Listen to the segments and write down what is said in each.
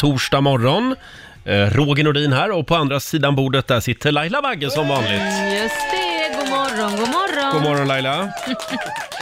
torsdag morgon. Eh, Roger Nordin här och på andra sidan bordet där sitter Laila Bagge som vanligt. Just det, god morgon, god morgon. God morgon Laila.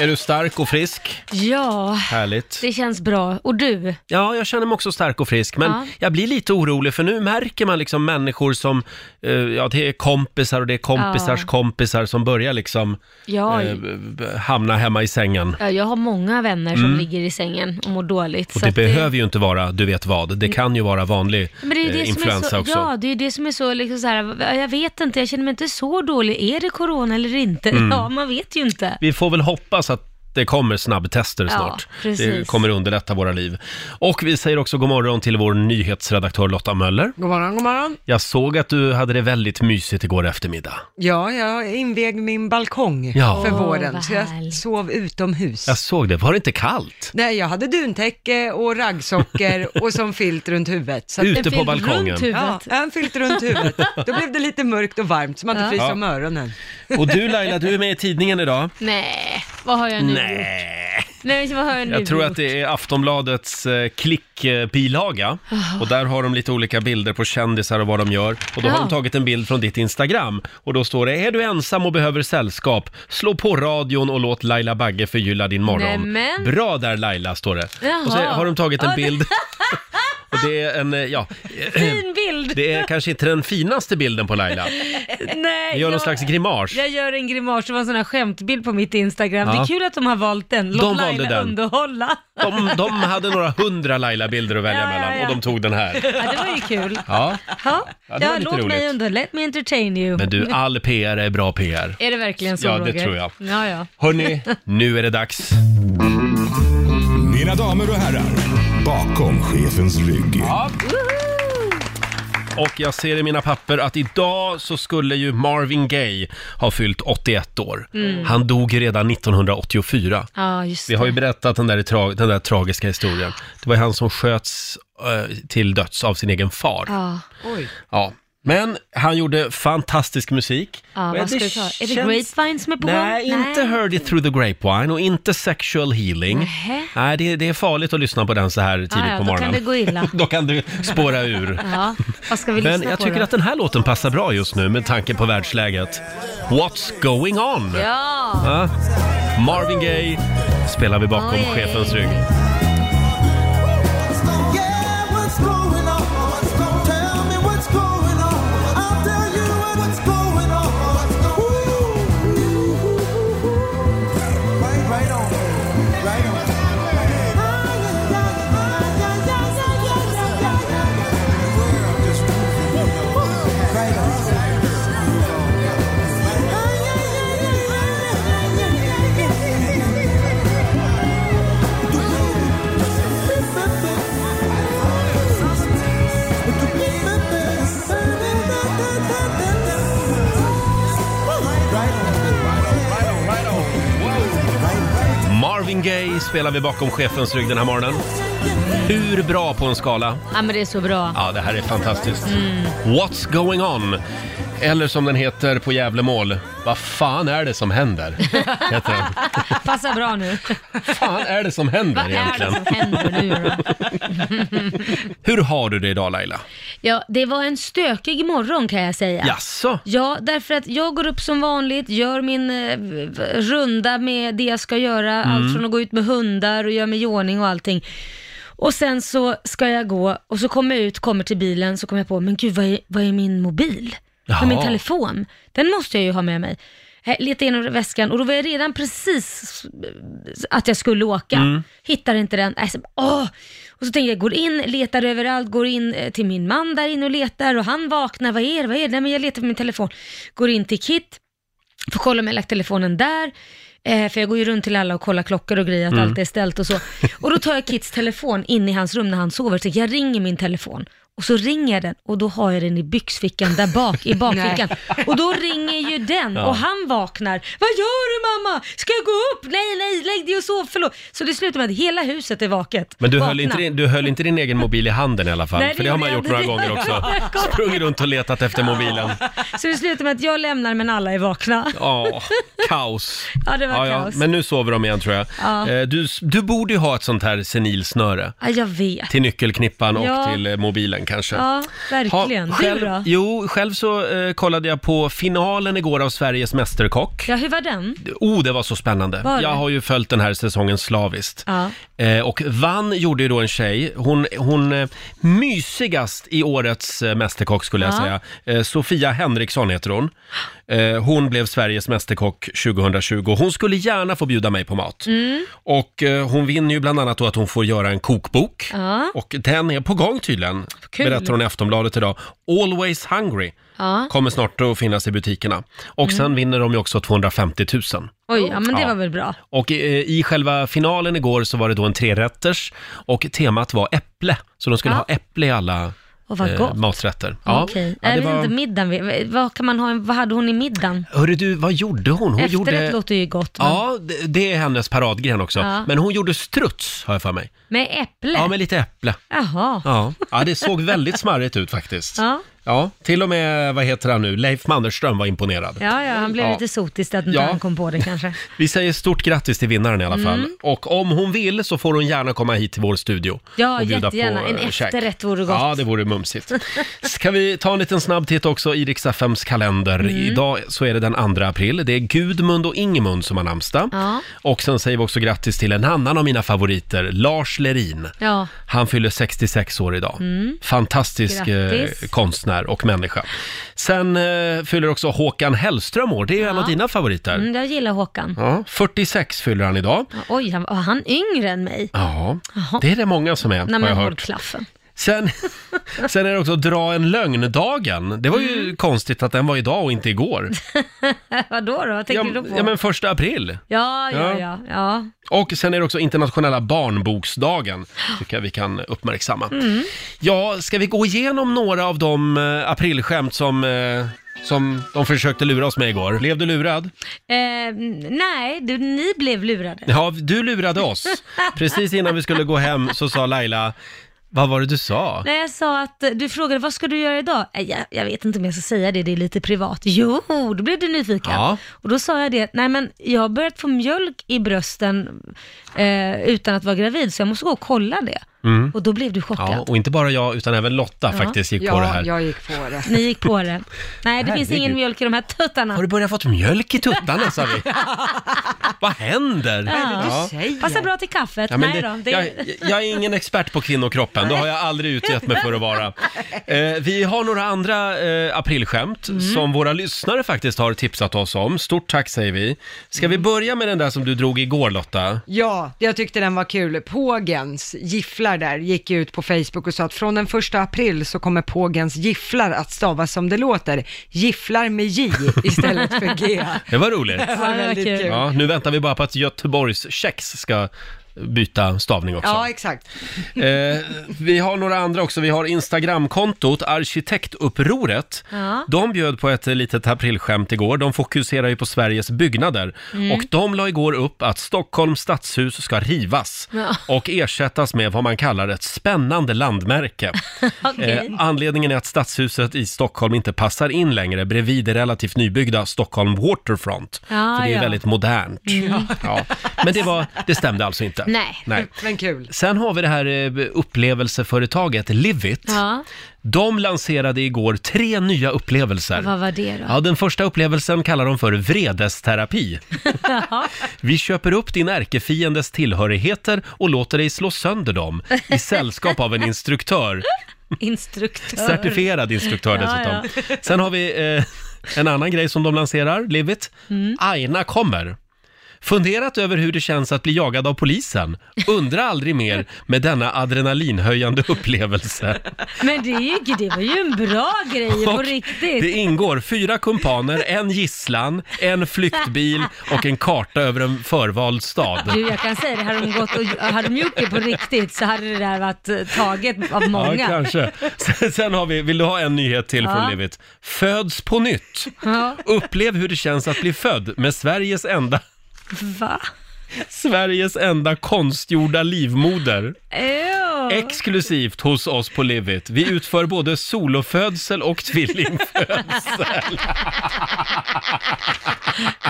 Är du stark och frisk? Ja, Härligt. det känns bra. Och du? Ja, jag känner mig också stark och frisk, men Ja. jag blir lite orolig för nu märker man liksom människor som, eh, ja det är kompisar och det är kompisars Ja. kompisar som börjar liksom Ja, eh, b- b- hamna hemma i sängen. ja, jag har många vänner som Mm. ligger i sängen och mår dåligt. Och typ så det att behöver ju inte vara, du vet vad, det kan ju vara vanlig Men det är ju det eh, som är influensa så, också. Ja, det är det som är så, liksom så här, jag vet inte, jag känner mig inte så dålig. Är det corona eller inte? Mm. Ja, man vet ju inte. Vi får väl hoppas att det kommer snabbtester Ja, snart. det precis. kommer underlätta våra liv. Och vi säger också god morgon till vår nyhetsredaktör Lotta Möller. God morgon, god morgon. Jag såg att du hade det väldigt mysigt igår eftermiddag. Ja, jag invigde min balkong Ja. för Åh, våren, vad så jag sov utomhus. Jag såg det, var det inte kallt? Nej, jag hade duntäcke och raggsockor och som filt runt huvudet. Så att- Ute En på filt balkongen. runt huvudet. Ja, en filt runt huvudet. Då blev det lite mörkt och varmt, så man inte Ja. fryser Ja. om öronen. Och du Laila, du är med i tidningen idag. Nej, vad har jag nu gjort? Nej, Nej, vad har jag nu jag tror gjort? att det är Aftonbladets eh, klickbilaga. Jaha. Och där har de lite olika bilder på kändisar och vad de gör. Och då har Ja. de tagit en bild från ditt Instagram. Och då står det, är du ensam och behöver sällskap, slå på radion och låt Laila Bagge förgylla din morgon. Nämen. Bra där Laila, står det. Jaha. Och så har de tagit Ja, en det- bild. Och det är en, eh, ja... Fin bild! Det är kanske inte den finaste bilden på Laila. Nej, Ni gör någon jag- slags grimas. Jag gör en grimas, det var en sån här skämtbild på mitt Instagram. Ja. Det är kul att de har valt den. Låt De valde Laila den. underhålla. De, de hade några hundra Laila-bilder att välja Ja, ja, mellan ja. och de tog den här. Ja, det var ju kul. Ja. Ja, Ja, ja, det var lite låt mig roligt. under, let me entertain you. Men du, all PR är bra PR. Är det verkligen så Ja, det Roger? tror jag. Ja, ja. Hörni, nu är det dags. Mina damer och herrar, bakom chefens rygg. Och jag ser i mina papper att idag så skulle ju Marvin Gaye ha fyllt 81 år. Mm. Han dog ju redan 1984. Ja, just Vi har ju det. berättat den där, tra- den där tragiska historien. Det var ju han som sköts eh, till döds av sin egen far. Ja. Oj. Ja. Men han gjorde fantastisk musik. Ja, Och vad ska du ta? Är det känns- Grapevine som är på Nej, gång? inte Heard It Through the Grapevine och inte Sexual Healing. Nähä. Nej, det, det är farligt att lyssna på den så här tidigt Ah, ja, på då morgonen. kan det gå illa. då kan du spåra ur. Ja, vad ska vi Men lyssna jag på tycker då? att den här låten passar bra just nu med tanke på världsläget. What's going on? Ja! Ja. Marvin Gaye spelar vi bakom Oj. chefens rygg. Marvin Gaye spelar vi bakom chefens rygg den här morgonen. Hur bra på en skala? Ja, men det är så bra. Ja, det här är fantastiskt. Mm. What's going on? Eller som den heter på Gävlemål, vad fan är det som händer? Heter den. Passar bra nu. fan är det som händer Vad är det egentligen? som händer nu då? Hur har du det idag Laila? Ja, det var en stökig morgon kan jag säga. Jaså? Ja, därför att jag går upp som vanligt, gör min eh, v- runda med det jag ska göra, Mm. allt från att gå ut med hundar och göra mig i ordning och allting. Och sen så ska jag gå och så kommer jag ut, kommer till bilen, så kommer jag på, men gud vad är, vad är min mobil? Vad är min Jaha. telefon? Den måste jag ju ha med mig. Eh, Leta igenom väskan och då var jag redan precis eh, att jag skulle åka. Mm. Hittar inte den. Alltså, åh! Och så tänker jag, går in, letar överallt, går in eh, till min man där inne och letar och han vaknar. Vad är det? Vad är det? Nej, men jag letar på min telefon. Går in till Kit, får kolla om jag lagt telefonen där. Eh, för jag går ju runt till alla och kollar klockor och grejer, att Mm. allt är ställt och så. Och då tar jag Kits telefon in i hans rum när han sover. Så jag ringer min telefon Och så ringer jag den och då har jag den i byxfickan där bak i bakfickan. och då ringer ju den Ja. och han vaknar. Vad gör du mamma? Ska jag gå upp? Nej, nej, lägg dig och sov, förlåt. Så det slutar med att hela huset är vaket. Men du höll, Vakna. inte din, du höll inte din egen mobil i handen i alla fall, Nej, för det har gjorde man gjort jag inte. några gånger också. Ja, jag kom. Sprungit runt och letat efter mobilen. Så det slutar med att jag lämnar men alla är vakna. Ja, kaos. Ja, det var kaos. Men nu sover de igen tror jag. Ja. Eh, Du, du borde ju ha ett sånt här senilsnöre Ja, jag vet. till nyckelknippan och Ja. till eh, mobilen kanske. Ja, verkligen. Ha, Du då? själv, jo, själv så eh, kollade jag på finalen igår av Sveriges Mästerkock. Ja, hur var den? Oh, det var så spännande. Var det? jag har ju följt den här säsongen slaviskt. Ja. Eh, och vann gjorde ju då en tjej, hon, hon eh, mysigast i årets eh, Mästerkock skulle jag Ja. säga. Eh, Sofia Henriksson heter hon. Eh, hon blev Sveriges Mästerkock 2020. Hon skulle gärna få bjuda mig på mat. Mm. Och eh, hon vinner ju bland annat då att hon får göra en kokbok. Ja. Och den är på gång tydligen, Kul. berättar hon i Aftonbladet idag. Always hungry. Ja. Kommer snart att finnas i butikerna. Och sen vinner de ju också 250 000. Oj, ja men det Ja. var väl bra. Och eh, i själva finalen igår så var det då en trerätters och temat var äpple. Så de skulle Ja. ha äpple i alla Och vad eh, gott. maträtter. Okej. ja är det det var... inte middagen? vi- Vad, kan man ha, en- vad hade hon i middagen? Hörru du, vad gjorde hon? Hon Efterrätt gjorde... låter ju gott. men- Ja, det- det är hennes paradgren också. Ja. Men hon gjorde struts, har jag för mig. Med äpple? Ja, med lite äpple. Jaha. Ja. ja, det såg väldigt smarrigt ut faktiskt. Ja. Ja, till och med, vad heter han nu, Leif Mannerström var imponerad. Ja, ja, han blev Ja. lite sotis att inte Ja. han kom på det kanske. Vi säger stort grattis till vinnaren i alla Mm. fall. Och om hon vill så får hon gärna komma hit till vår studio. Ja, och bjuda jättegärna. På, En eh, käk. efterrätt vore gott. Ja, det vore mumsigt. Ska vi ta en liten snabb titt också i riks kalender. Mm. Idag så är det den 2 april. Det är Gudmund och Ingemund som har namnsdag. Ja. Och sen säger vi också grattis till en annan av mina favoriter, Lars Lerin. Ja. Han fyller 66 år idag. Fantastisk eh, Mm. Grattis. konstnär och människa. Sen eh, fyller också Håkan Hellström år. Det är ju en av dina favoriter. Mm, jag gillar Håkan. Ja, 46 fyller han idag. Oj, han, var han yngre än mig? Ja, det är det många som är, Nej har jag men håll hört. klaffen. Sen, sen är det också dra en lögn-dagen. Det var ju Mm. konstigt att den var idag och inte igår. Vadå då? Vad Ja, tänker du på? ja, men första april. ja, Ja. ja, ja, ja. Och sen är det också internationella barnboksdagen, tycker jag vi kan uppmärksamma. Mm. Ja, ska vi gå igenom några av de eh, aprilskämt som, eh, som de försökte lura oss med igår? Blev du lurad? Eh, nej, du, ni blev lurade. Ja, du lurade oss. Precis innan vi skulle gå hem så sa Laila, vad var det du sa? När jag sa att eh, du frågade vad ska du göra idag? "Eh, Jag, jag vet inte om jag ska säga det, det är lite privat. Jo, då blev du nyfiken. Ja. Och då sa jag det, nej men jag har börjat få mjölk i brösten eh, utan att vara gravid, så jag måste gå och kolla det. Och då blev du chockad. Mm. Ja, och inte bara jag, utan även Lotta faktiskt gick på det här. Ja, jag gick på det. Ni gick på det. Nej, det finns Herregud. ingen mjölk i de här tuttarna. Har du börjat fått mjölk i tuttarna, sa vi. Vad händer? Ja. Du säger. Passar bra till kaffet. Ja, men nej då. det, Det, jag, jag är ingen expert på kvinnokroppen, det har jag aldrig utgett mig för att vara. Eh, vi har några andra eh, aprilskämt Mm. som våra lyssnare faktiskt har tipsat oss om. Stort tack säger vi. Ska Mm. vi börja med den där som du drog igår Lotta? Ja, jag tyckte den var kul. Pågens gifflar där gick ju ut på Facebook och sa att från den första april så kommer Pågens gifflar att stavas som det låter. Gifflar med J istället för G. Det var roligt. Det Ja, var det var väldigt kul. kul. Ja, nu väntar vi bara på att Göteborgs kex ska byta stavning också. Ja, exakt. Eh, vi har några andra också. Vi har Instagramkontot Arkitektupproret. Ja. De bjöd på ett litet aprilskämt igår. De fokuserar ju på Sveriges byggnader. Mm. Och de la igår upp att Stockholms stadshus ska rivas Ja. och ersättas med vad man kallar ett spännande landmärke. Okej. Eh, anledningen är att stadshuset i Stockholm inte passar in längre bredvid det relativt nybyggda Stockholm Waterfront. Ja, för det är ja. Mm. väldigt modernt. Ja. Men det, var, det stämde alltså inte. Nej. Nej. Men kul. Sen har vi det här eh, upplevelseföretaget Livit. ja, De lanserade igår tre nya upplevelser. vad var det då? Ja, den första upplevelsen kallar de för vredesterapi. Jaha. Vi köper upp din ärkefiendes tillhörigheter och låter dig slå sönder dem i sällskap av en instruktör. Instruktör. Certifierad instruktör Ja, dessutom. Mm. Sen har vi eh, en annan grej som de lanserar, Livit. Aina kommer. Funderat över hur det känns att bli jagad av polisen? Undra aldrig mer med denna adrenalinhöjande upplevelse. Men det, är ju, det var ju en bra grej på Och Det riktigt. ingår fyra kumpaner, en gisslan, en flyktbil och en karta över en förvald stad. Du, jag kan säga det, hade de, gått och, hade de gjort det på riktigt så hade det där varit eh, taget av många. Ja, kanske. Sen, sen har vi, vill du ha en nyhet till Ja. från livet? Föds på nytt. Ja, Upplev hur det känns att bli född med Sveriges enda, va? Sveriges enda konstgjorda livmoder. Ew. Exklusivt hos oss på Livit. Vi utför både solofödsel och tvillingfödsel.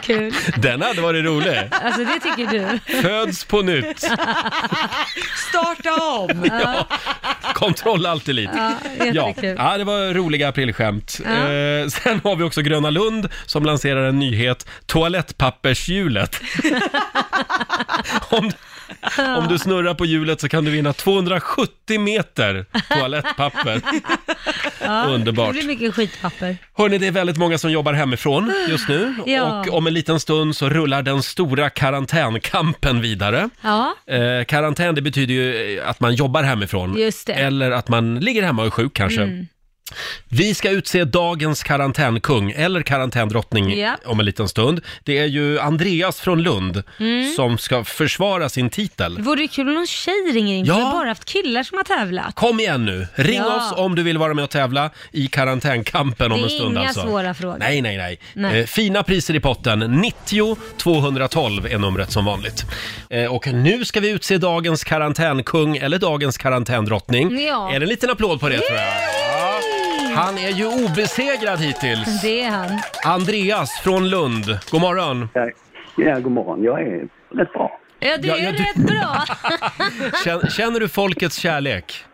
Kul. Den hade varit rolig. Alltså det tycker du. Föds på nytt. Starta om! Kontroll allt elit. Ja, Ja. jättekul. ja, det var roliga aprilskämt. Ja. Eh, sen har vi också Gröna Lund som lanserar en nyhet, toalettpappershjulet. om, om du snurrar på hjulet så kan du vinna 270 meter toalettpapper. Ja, Underbart. Det blir mycket skitpapper. Hörni, det är väldigt många som jobbar hemifrån just nu Ja. och om en liten stund så rullar den stora karantänkampen vidare. Ja, Eh, karantän, det betyder ju eh, att man jobbar hemifrån. Just det. Mm. Eller att man ligger hemma och är sjuk kanske. Vi ska utse dagens karantänkung, eller karantändrottning, Ja. om en liten stund. Det är ju Andreas från Lund Mm. som ska försvara sin det titel. vore ju kul om någon tjej ringer in. för Ja. Vi har bara haft killar som har tävlat. Kom igen nu! Ring Ja. oss om du vill vara med och tävla i karantänkampen om Det en är stund inga alltså. svåra frågor. Nej, nej, nej. Nej. Eh, fina priser i potten. 90 212 är numret som vanligt. Eh, och nu ska vi utse dagens karantänkung eller dagens karantändrottning. Ja. Är det en liten applåd på det tror jag? Ja. Han är ju obesegrad hittills. Det är han. Andreas från Lund. God morgon. Ja, ja, god morgon. Jag är rätt bra. Ja, det Ja, är ja, ju du- rätt bra. Kän- Känner du folkets kärlek?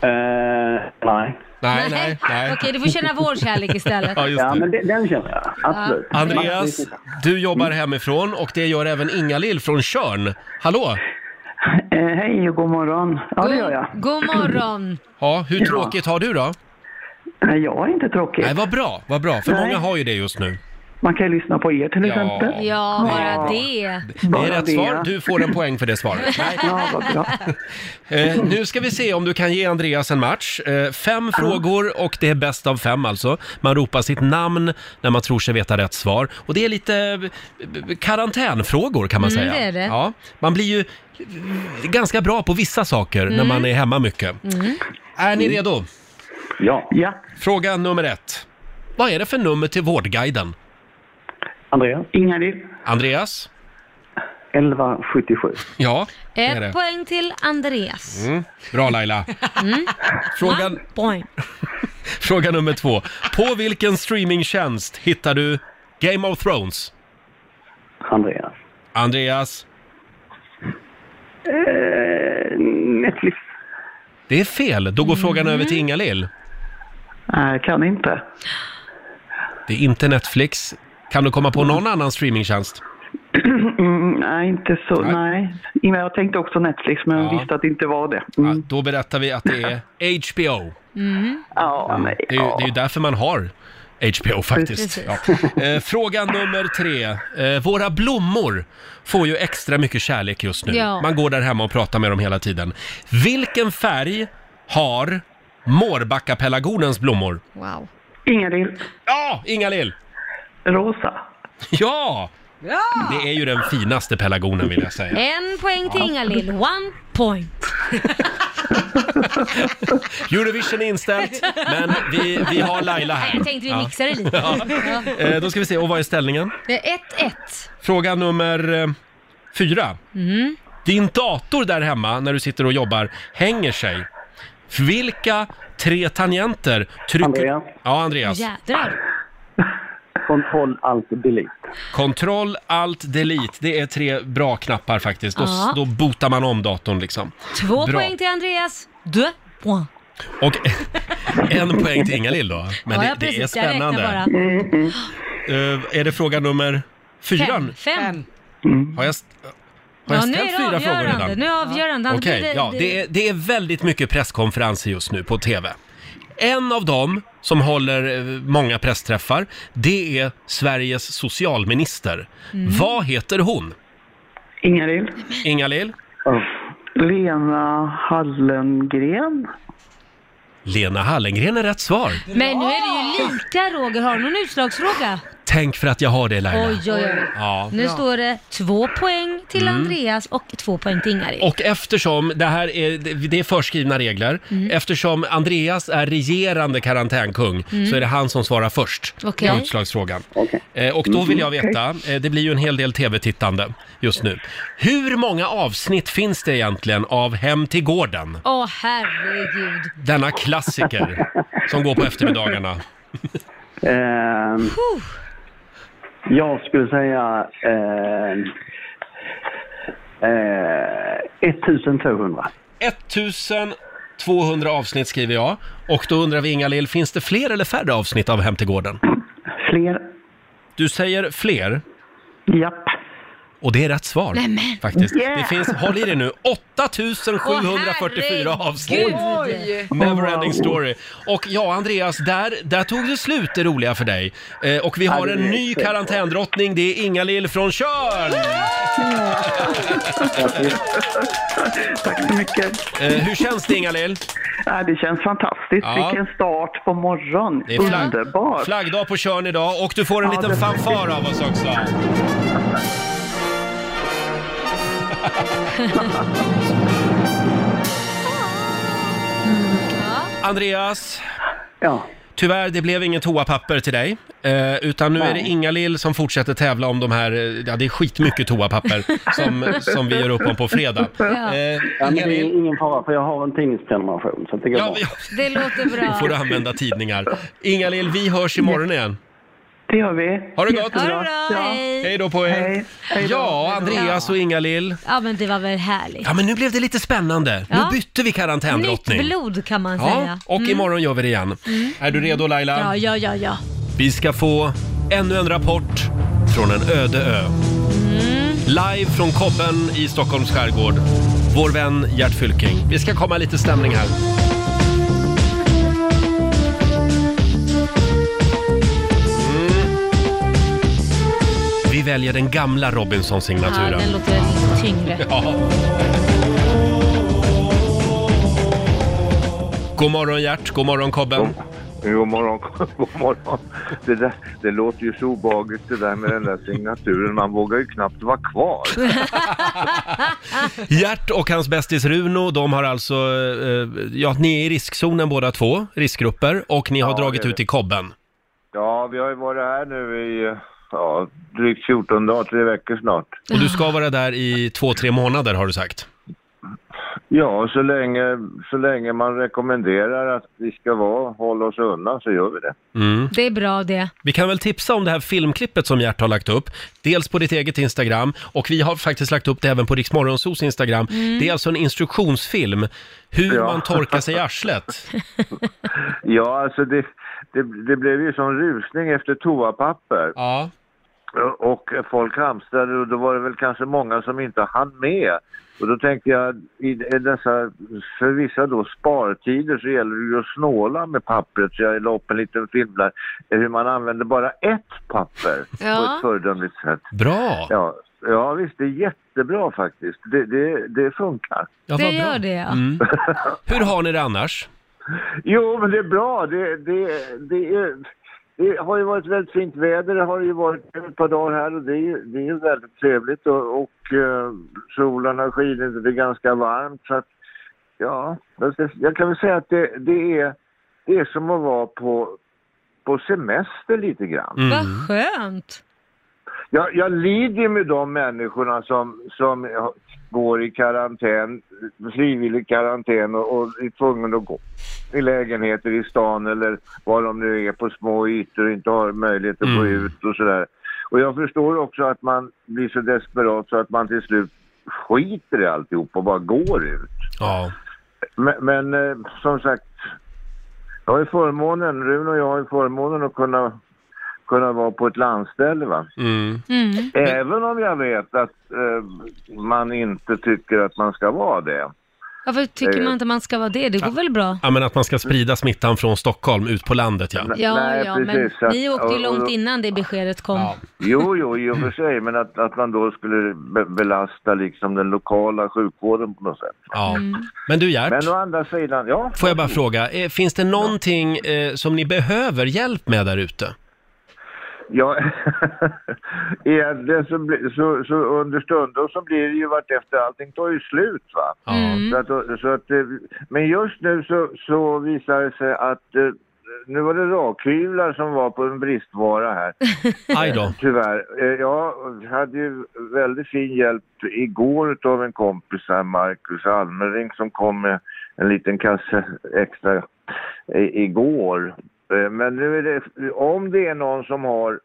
Eh, nej. Nej, nej, nej. Okej, du får känna vår kärlek istället. Ja, just Ja, det. men den, den känner jag. Absolut. Andreas, du jobbar hemifrån och det gör även Ingalill från Körn. Hallå! Eh, hej och god morgon. Ja, det gör jag. God morgon. Ja, hur tråkigt har du då? Nej, jag är inte tråkig. Nej, vad bra, vad bra. För Nej. många har ju det just nu. Man kan ju lyssna på er till exempel. Ja, bara det. Det är Bara rätt det. svar. Du får en poäng för det svaret. Ja, vad bra. Eh, nu ska vi se om du kan ge Andreas en match. Eh, fem frågor och det är bäst av fem alltså. Man ropar sitt namn när man tror sig veta rätt svar. Och det är lite eh, b- b- karantänfrågor kan man Mm, säga. det är det. Ja, man blir ju eh, ganska bra på vissa saker när man är hemma mycket. Är ni redo? Ja. Ja, Fråga nummer ett. Vad är det för nummer till Vårdguiden? Andreas, Ingalill. Andreas? 1177. Ja, det är Ett det. Mm. poäng till Andreas. Bra Laila. Fråga, Mm. One point. fråga nummer två. På vilken streamingtjänst hittar du Game of Thrones? Andreas. Andreas? Eh, Netflix. Det är fel. Då går Mm. frågan över till Inga-Lill. Nej, kan inte. Det är inte Netflix. Kan du komma på någon annan streamingtjänst? Mm, nej, inte så. Nej. Ingvar, Jag tänkte också Netflix, men jag Ja. visste att det inte var det. Mm. Ja, då berättar vi att det är HBO. Ja, nej. Det är ju, ja. det är ju därför man har HBO faktiskt. Ja. Eh, fråga nummer tre. Eh, våra blommor får ju extra mycket kärlek just nu. Ja. Man går där hemma och pratar med dem hela tiden. Vilken färg har Mårbackapelargonens blommor? Wow. Ingalill. Ja, Inga-Lill! Rosa. Ja! Det är ju den finaste pelargonen vill jag säga. En poäng till Inga-Lill. One point. Eurovision är inställt, men vi, vi har Laila Nej, här. jag tänkte vi Ja. mixar det lite. Ja. Eh, då ska vi se, och vad är ställningen? Det är 1-1. Fråga nummer eh, fyra. Mm. Din dator där hemma, när du sitter och jobbar, hänger sig. Vilka tre tangenter trycker... Andreas. Ja, Andreas. Jädrar. Kontroll, allt, delete. Control, alt, delete. Det är tre bra knappar faktiskt. Då, Ja. då botar man om datorn liksom. Två Bra. poäng till Andreas. Deux points. Och en poäng till Inga-Lill då. Men Ja, det, jag det är precis. Jag räknar spännande. bara. Eh, är det fråga nummer fyran? Fem. Fem. Fem. Har jag, st- har jag Ja, nu är ställt det fyra frågor avgörande. redan? Nu är det avgörande. Annars Okej, blir ja, det är, det är väldigt mycket presskonferenser just nu på TV. En av dem som håller eh, många Mm. pressträffar, det är Sveriges socialminister. Vad heter hon? Ingrid. Inga-Lill? Ja. Lena Hallengren. Lena Hallengren är rätt svar. Men nu är det ju lika Roger. Har du någon utslagsfråga? Tänk för att jag har det Laila. Oj, oj, oj. Ja. Nu står det två poäng till Andreas och två poäng till Ingrid. Mm. Och eftersom, det här är, det är förskrivna regler, eftersom Andreas är regerande karantänkung så är det han som svarar först Okej. på utslagsfrågan. Okej. Eh, Och då vill jag veta, eh, det blir ju en hel del tv-tittande just nu. Hur många avsnitt finns det egentligen av Hem till gården? Åh herregud. Denna klassiker som går på eftermiddagarna. Ehm, jag skulle säga ehm, eh, 1200. 1200 avsnitt skriver jag. Och då undrar vi Inga-Lill, finns det fler eller färre avsnitt av Hem till gården? Fler. Du säger fler. Japp. Och det är rätt svar Nämen. faktiskt. Yeah. Det finns, håll i dig nu, 8744 Åh, avsnitt. Oj! Neverending story. Och ja, Andreas, där, där tog det slut det roliga för dig. Eh, och vi har det en är ny så bra. karantändrottning, det är Inga-Lill från Tjörn! Tack så mycket. Eh, hur känns det Inga-Lill? Ja, det känns fantastiskt. Ja. Vilken start på morgon. Det är flagg- Underbart. Flaggdag på Tjörn idag och du får en Ja, liten det- fanfar av oss också. Andreas, Ja, Tyvärr, det blev inget toapapper till dig. Eh, utan nu är det Nej. Inga-Lill som fortsätter tävla om de här, eh, ja det är skitmycket toapapper som, som vi gör upp om på fredag. Eh, ja men det är Inga-Lill, ingen fara för jag har en tidningsprenumeration så det går ja, bra. ja, Det låter då får du bra. använda tidningar. Inga-Lill, vi hörs imorgon igen. Det gör vi. Ha det gott! Ha det bra, Ja. Hej hej. då på er! Hej. Hej då. Ja, Andreas och Inga-Lill. Ja men det var väl härligt. Ja, men nu blev det lite spännande. Ja. Nu bytte vi Nytt karantändrottning. blod kan man Ja, säga. och imorgon gör vi det igen. Är du redo Laila? Ja, ja, ja, ja. Vi ska få ännu en rapport från en öde ö. Live från Kobben i Stockholms skärgård. Vår vän Gert Fylking. Vi ska komma lite stämning här. Mm. Vi väljer den gamla ja Robinson-signaturen. den låter tyngre. Ja. God morgon Gert, god morgon Kobben. God morgon, god morgon. Det, där, det låter ju så obehagligt det där med den där signaturen. Man vågar ju knappt vara kvar. Gert och hans bästis Runo, de har alltså, eh, ja ni är i riskzonen båda två, riskgrupper, och ni har Ja, dragit det är ut vi. i kobben. Ja, vi har ju varit här nu i ja, drygt 14 dagar, tre veckor snart. Och du Ah. ska vara där i två, tre månader har du sagt. Ja, så länge, så länge man rekommenderar att vi ska vara, hålla oss undan så gör vi det. Mm. Det är bra det. Vi kan väl tipsa om det här filmklippet som Gert har lagt upp, dels på ditt eget Instagram, och vi har faktiskt lagt upp det även på Rix Morgonzos Instagram. Mm. Det är alltså en instruktionsfilm, hur Ja. man torkar sig i arslet. Ja, alltså det, det, det blev ju sån rusning efter toapapper. Ja. och folk hamstrade och då var det väl kanske många som inte hann med. Och då tänkte jag, i dessa, för vissa då spartider så gäller det ju att snåla med pappret. Så jag la upp en liten film där hur man använder bara ett papper på Ja. ett föredömligt sätt. Bra! Ja, ja visst, det är jättebra faktiskt. Det, det, det funkar. Ja, det vad gör bra. det ja. Mm. Hur har ni det annars? Jo, men det är bra. Det, det, det, är, det har ju varit väldigt fint väder. Det har ju varit ett par dagar här och det är, det är ju väldigt trevligt. Och, och eh, solen har skinit och det är ganska varmt. Så att, ja, jag ska- jag kan väl säga att det, det, är, det är som att vara på, på semester lite grann. Mm. Vad skönt. Jag, jag lider ju med de människorna som, som går i karantän, frivillig karantän och, och är tvungna att gå i lägenheter i stan eller var de nu är på små ytor och inte har möjlighet att gå Mm. ut och sådär. Och jag förstår också att man blir så desperat så att man till slut skiter i alltihop och bara går ut. Ja. Men, men eh, som sagt, jag har ju förmånen, Rune och jag har ju förmånen att kunna, kunna vara på ett landställe va. Mm. Mm. Även om jag vet att eh, man inte tycker att man ska vara det. Varför tycker man inte man ska vara det? Det går väl bra? Ja, men att man ska sprida smittan från Stockholm ut på landet, ja. Nej, Ja, nej, ja, men precis. Att- ni åkte ju och- och- långt innan det beskedet kom. Ja. Jo, jo, i och för sig, men att, att man då skulle be- belasta liksom den lokala sjukvården på något sätt. ja. Men du Gert, Men å andra sidan, ja. får jag bara fråga, eh, finns det någonting eh, som ni behöver hjälp med där ute? Ja, egentligen så, bli, så, så understundom så blir det ju vartefter allting tar ju slut va. Ja. Så att, så att, eh, men just nu så, så visar det sig att eh, nu var det rakhyvlar som var på en bristvara här. Aj då. Tyvärr. Eh, Jag hade ju väldigt fin hjälp igår av en kompis här, Marcus Almering, som kom med en liten kasse extra i- igår. Eh, Men nu är det, om det är någon som har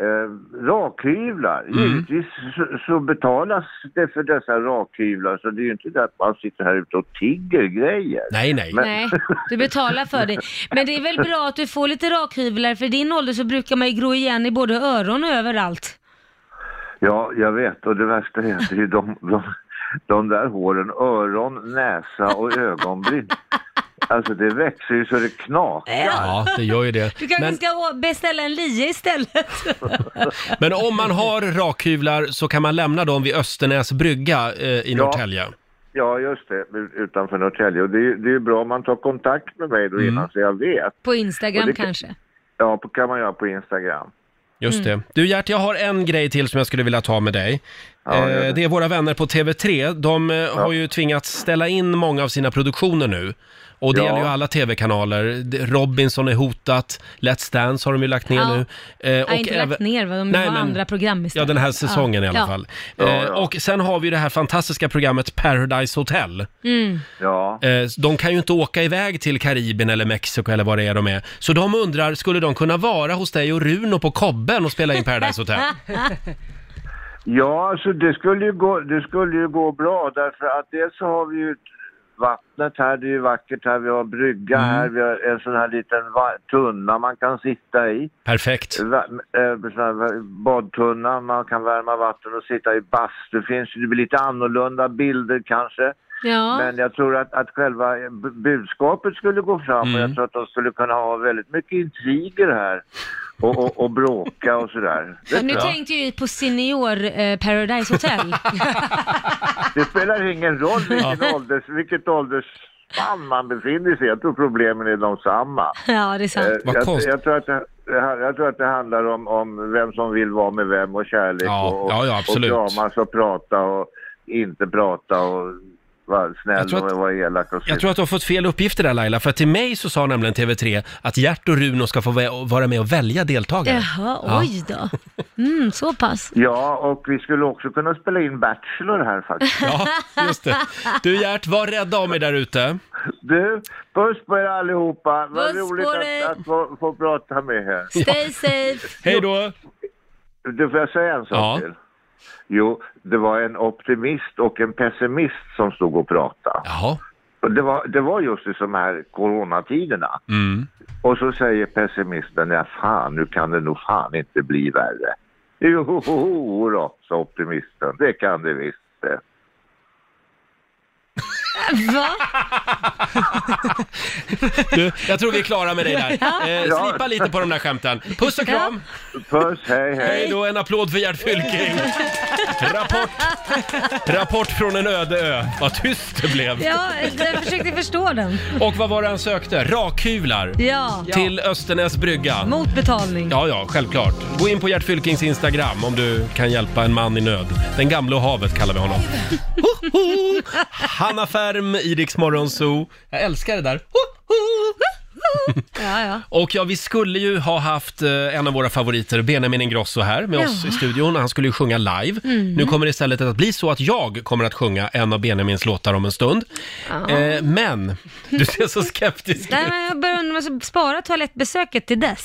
eh, rakhyvlar, givetvis så, så betalas det för dessa rakhyvlar, så det är ju inte där att man sitter här ute och tigger grejer. Nej, nej. Nej, du betalar för det. Men det är väl bra att du får lite rakhyvlar, för i din ålder så brukar man ju gro igen i både öron och överallt. Ja, jag vet. Och det värsta är att det är de, de, de där håren, öron, näsa och ögonbryn. Alltså det växer ju så det knakar. Ja, det gör ju det. Du kanske Men, ska å- beställa en lie istället? men om man har rakhyvlar så kan man lämna dem vid Östernäs brygga eh, i Ja. Norrtälje. Ja, just det. ut- Utanför Norrtälje. Och det, är- det är ju bra om man tar kontakt med mig då innan så jag vet. På Och Instagram det- kanske? Ja, på, kan man göra på Instagram. Just Mm. det. Du Gert, jag har en grej till som jag skulle vilja ta med dig. gör det. eh, det är våra vänner på TV3. De eh, har ju tvingats ställa in många av sina produktioner nu. Och det Ja. gäller ju alla TV-kanaler. Det- Robinson är hotat, Let's Dance har de ju lagt ner Ja. nu. Eh, Nej, inte lagt ner va? De Nej, har men- andra program Ja, istället. den här säsongen Ja. i alla Ja. fall. Ja, Eh, ja. Och sen har vi ju det här fantastiska programmet Paradise Hotel. Ja. Eh, De kan ju inte åka iväg till Karibien eller Mexiko eller vad det är de är. Så de undrar, skulle de kunna vara hos dig och Runo på Kobben och spela in Paradise Hotel? Ja, alltså det skulle ju gå, det skulle ju gå bra därför att dels så har vi ju vattnet här, det är ju vackert här, vi har brygga här, vi har en sån här liten va- tunna man kan sitta i. Perfekt. Va- eh, sån här badtunna, man kan värma vatten och sitta i bastu. Det finns ju det blir lite annorlunda bilder kanske. Ja, Men jag tror att, att själva eh, bu- budskapet skulle gå fram och Mm. jag tror att de skulle kunna ha väldigt mycket intriger här. Och, och, och bråka och sådär. men nu tänkte jag ju på Senior eh, Paradise Hotel. Det spelar ingen roll vilken ålders, vilket åldersspann man befinner sig i. Jag tror problemen är de samma. ja, det är sant. Eh, Vad jag, konstigt. jag, tror att det, jag tror att det handlar om, om vem som vill vara med vem och kärlek Ja, och, ja, ja, absolut. och kramas och prata och inte prata och vara Jag snäll tror att- och vara elak och så. Jag tror att du har fått fel uppgifter där Laila, för att till mig så sa nämligen TV3 att Gert och Runo ska få vä- vara med och välja deltagare. Jaha, oj då. Mm, så pass. Ja, och vi skulle också kunna spela in Bachelor här faktiskt. Ja, just det. Du Gert, var rädda om er där ute. Du, puss på er allihopa. Vad Puss roligt på dig. att, att få, få prata med er. Stay safe. Hej då! Du, får jag säga en sak Ja. till? Jo, det var en optimist och en pessimist som stod och pratade. Jaha. Och Det var, det var just i de här coronatiderna. Mm. Och så säger pessimisten, ja fan, nu kan det nog fan inte bli värre. Jo, då, sa optimisten, det kan det visst. det." Va? Du, jag tror vi är klara med dig där. Eh, Ja. slipa lite på de där skämten. Puss och kram! Puss, hej, hej. Hej då, en applåd för Gert Fylking! Rapport, rapport från en öde ö. Vad tyst det blev. Ja, jag försökte förstå den. Och vad var det han sökte? Rakhyvlar Ja, till Östernäs brygga. mot betalning. Ja, ja, självklart. Gå in på Gert Fylkings Instagram om du kan hjälpa en man i nöd. Den gamla och havet kallar vi honom. Ho, ho. Hanna Färm, i Rix Morgon Zoo. Jag älskar det där. Ho, ho. Ja, ja. Och ja, vi skulle ju ha haft eh, en av våra favoriter, Benjamin Ingrosso, här med oss i studion. Han skulle ju sjunga live. Nu kommer det istället att bli så att jag kommer att sjunga en av Benjamins låtar om en stund. Eh, men, du ser så skeptisk Nej, ut. men jag börjar undra om jag ska spara toalettbesöket till dess.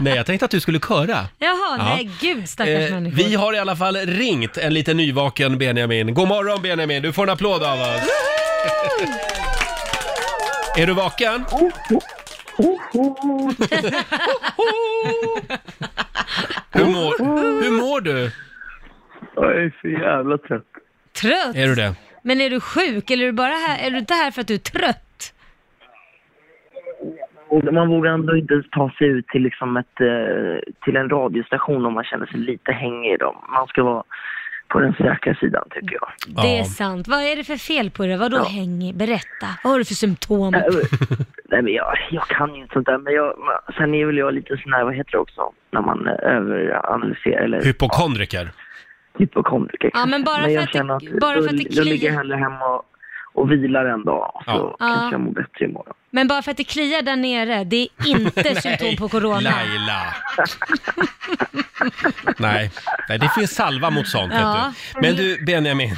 Nej, jag tänkte att du skulle köra. Jaha, Ja. nej gud stackars Eh, människor. vi har i alla fall ringt en lite nyvaken Benjamin. God morgon Benjamin, du får en applåd av oss. Är du vaken? hur, mår, hur mår du? Jag är så jävla trött. Trött! Är du det? Men är du sjuk eller är du, bara här, är du inte här för att du är trött? Och man vågar ändå inte ta sig ut till, liksom ett, eh, till en radiostation om man känner sig lite hängig. Då. Man ska vara på den säkra sidan, tycker jag. Det är Ja. sant. Vad är det för fel på det? Vadå Ja. hängig? Berätta. Vad har du för symptom? Äh. Nej, men- Äh, Nej, men jag, jag kan ju inte sånt där. Men jag, men sen är väl jag lite sån här, vad heter det också, när man eh, överanalyserar eller Hypokondriker. hypokondriker. Ja, men bara för jag att det- känner att bara för då, att det då ligger kliar. jag hellre hemma och, och vilar en dag. Så Ja. kanske Ja. jag mår bättre imorgon. Men bara för att det kliar där nere, det är inte symptom på corona. Laila. Nej. Nej, det finns salva mot sånt. Ja. Vet du. Men du, Benjamin.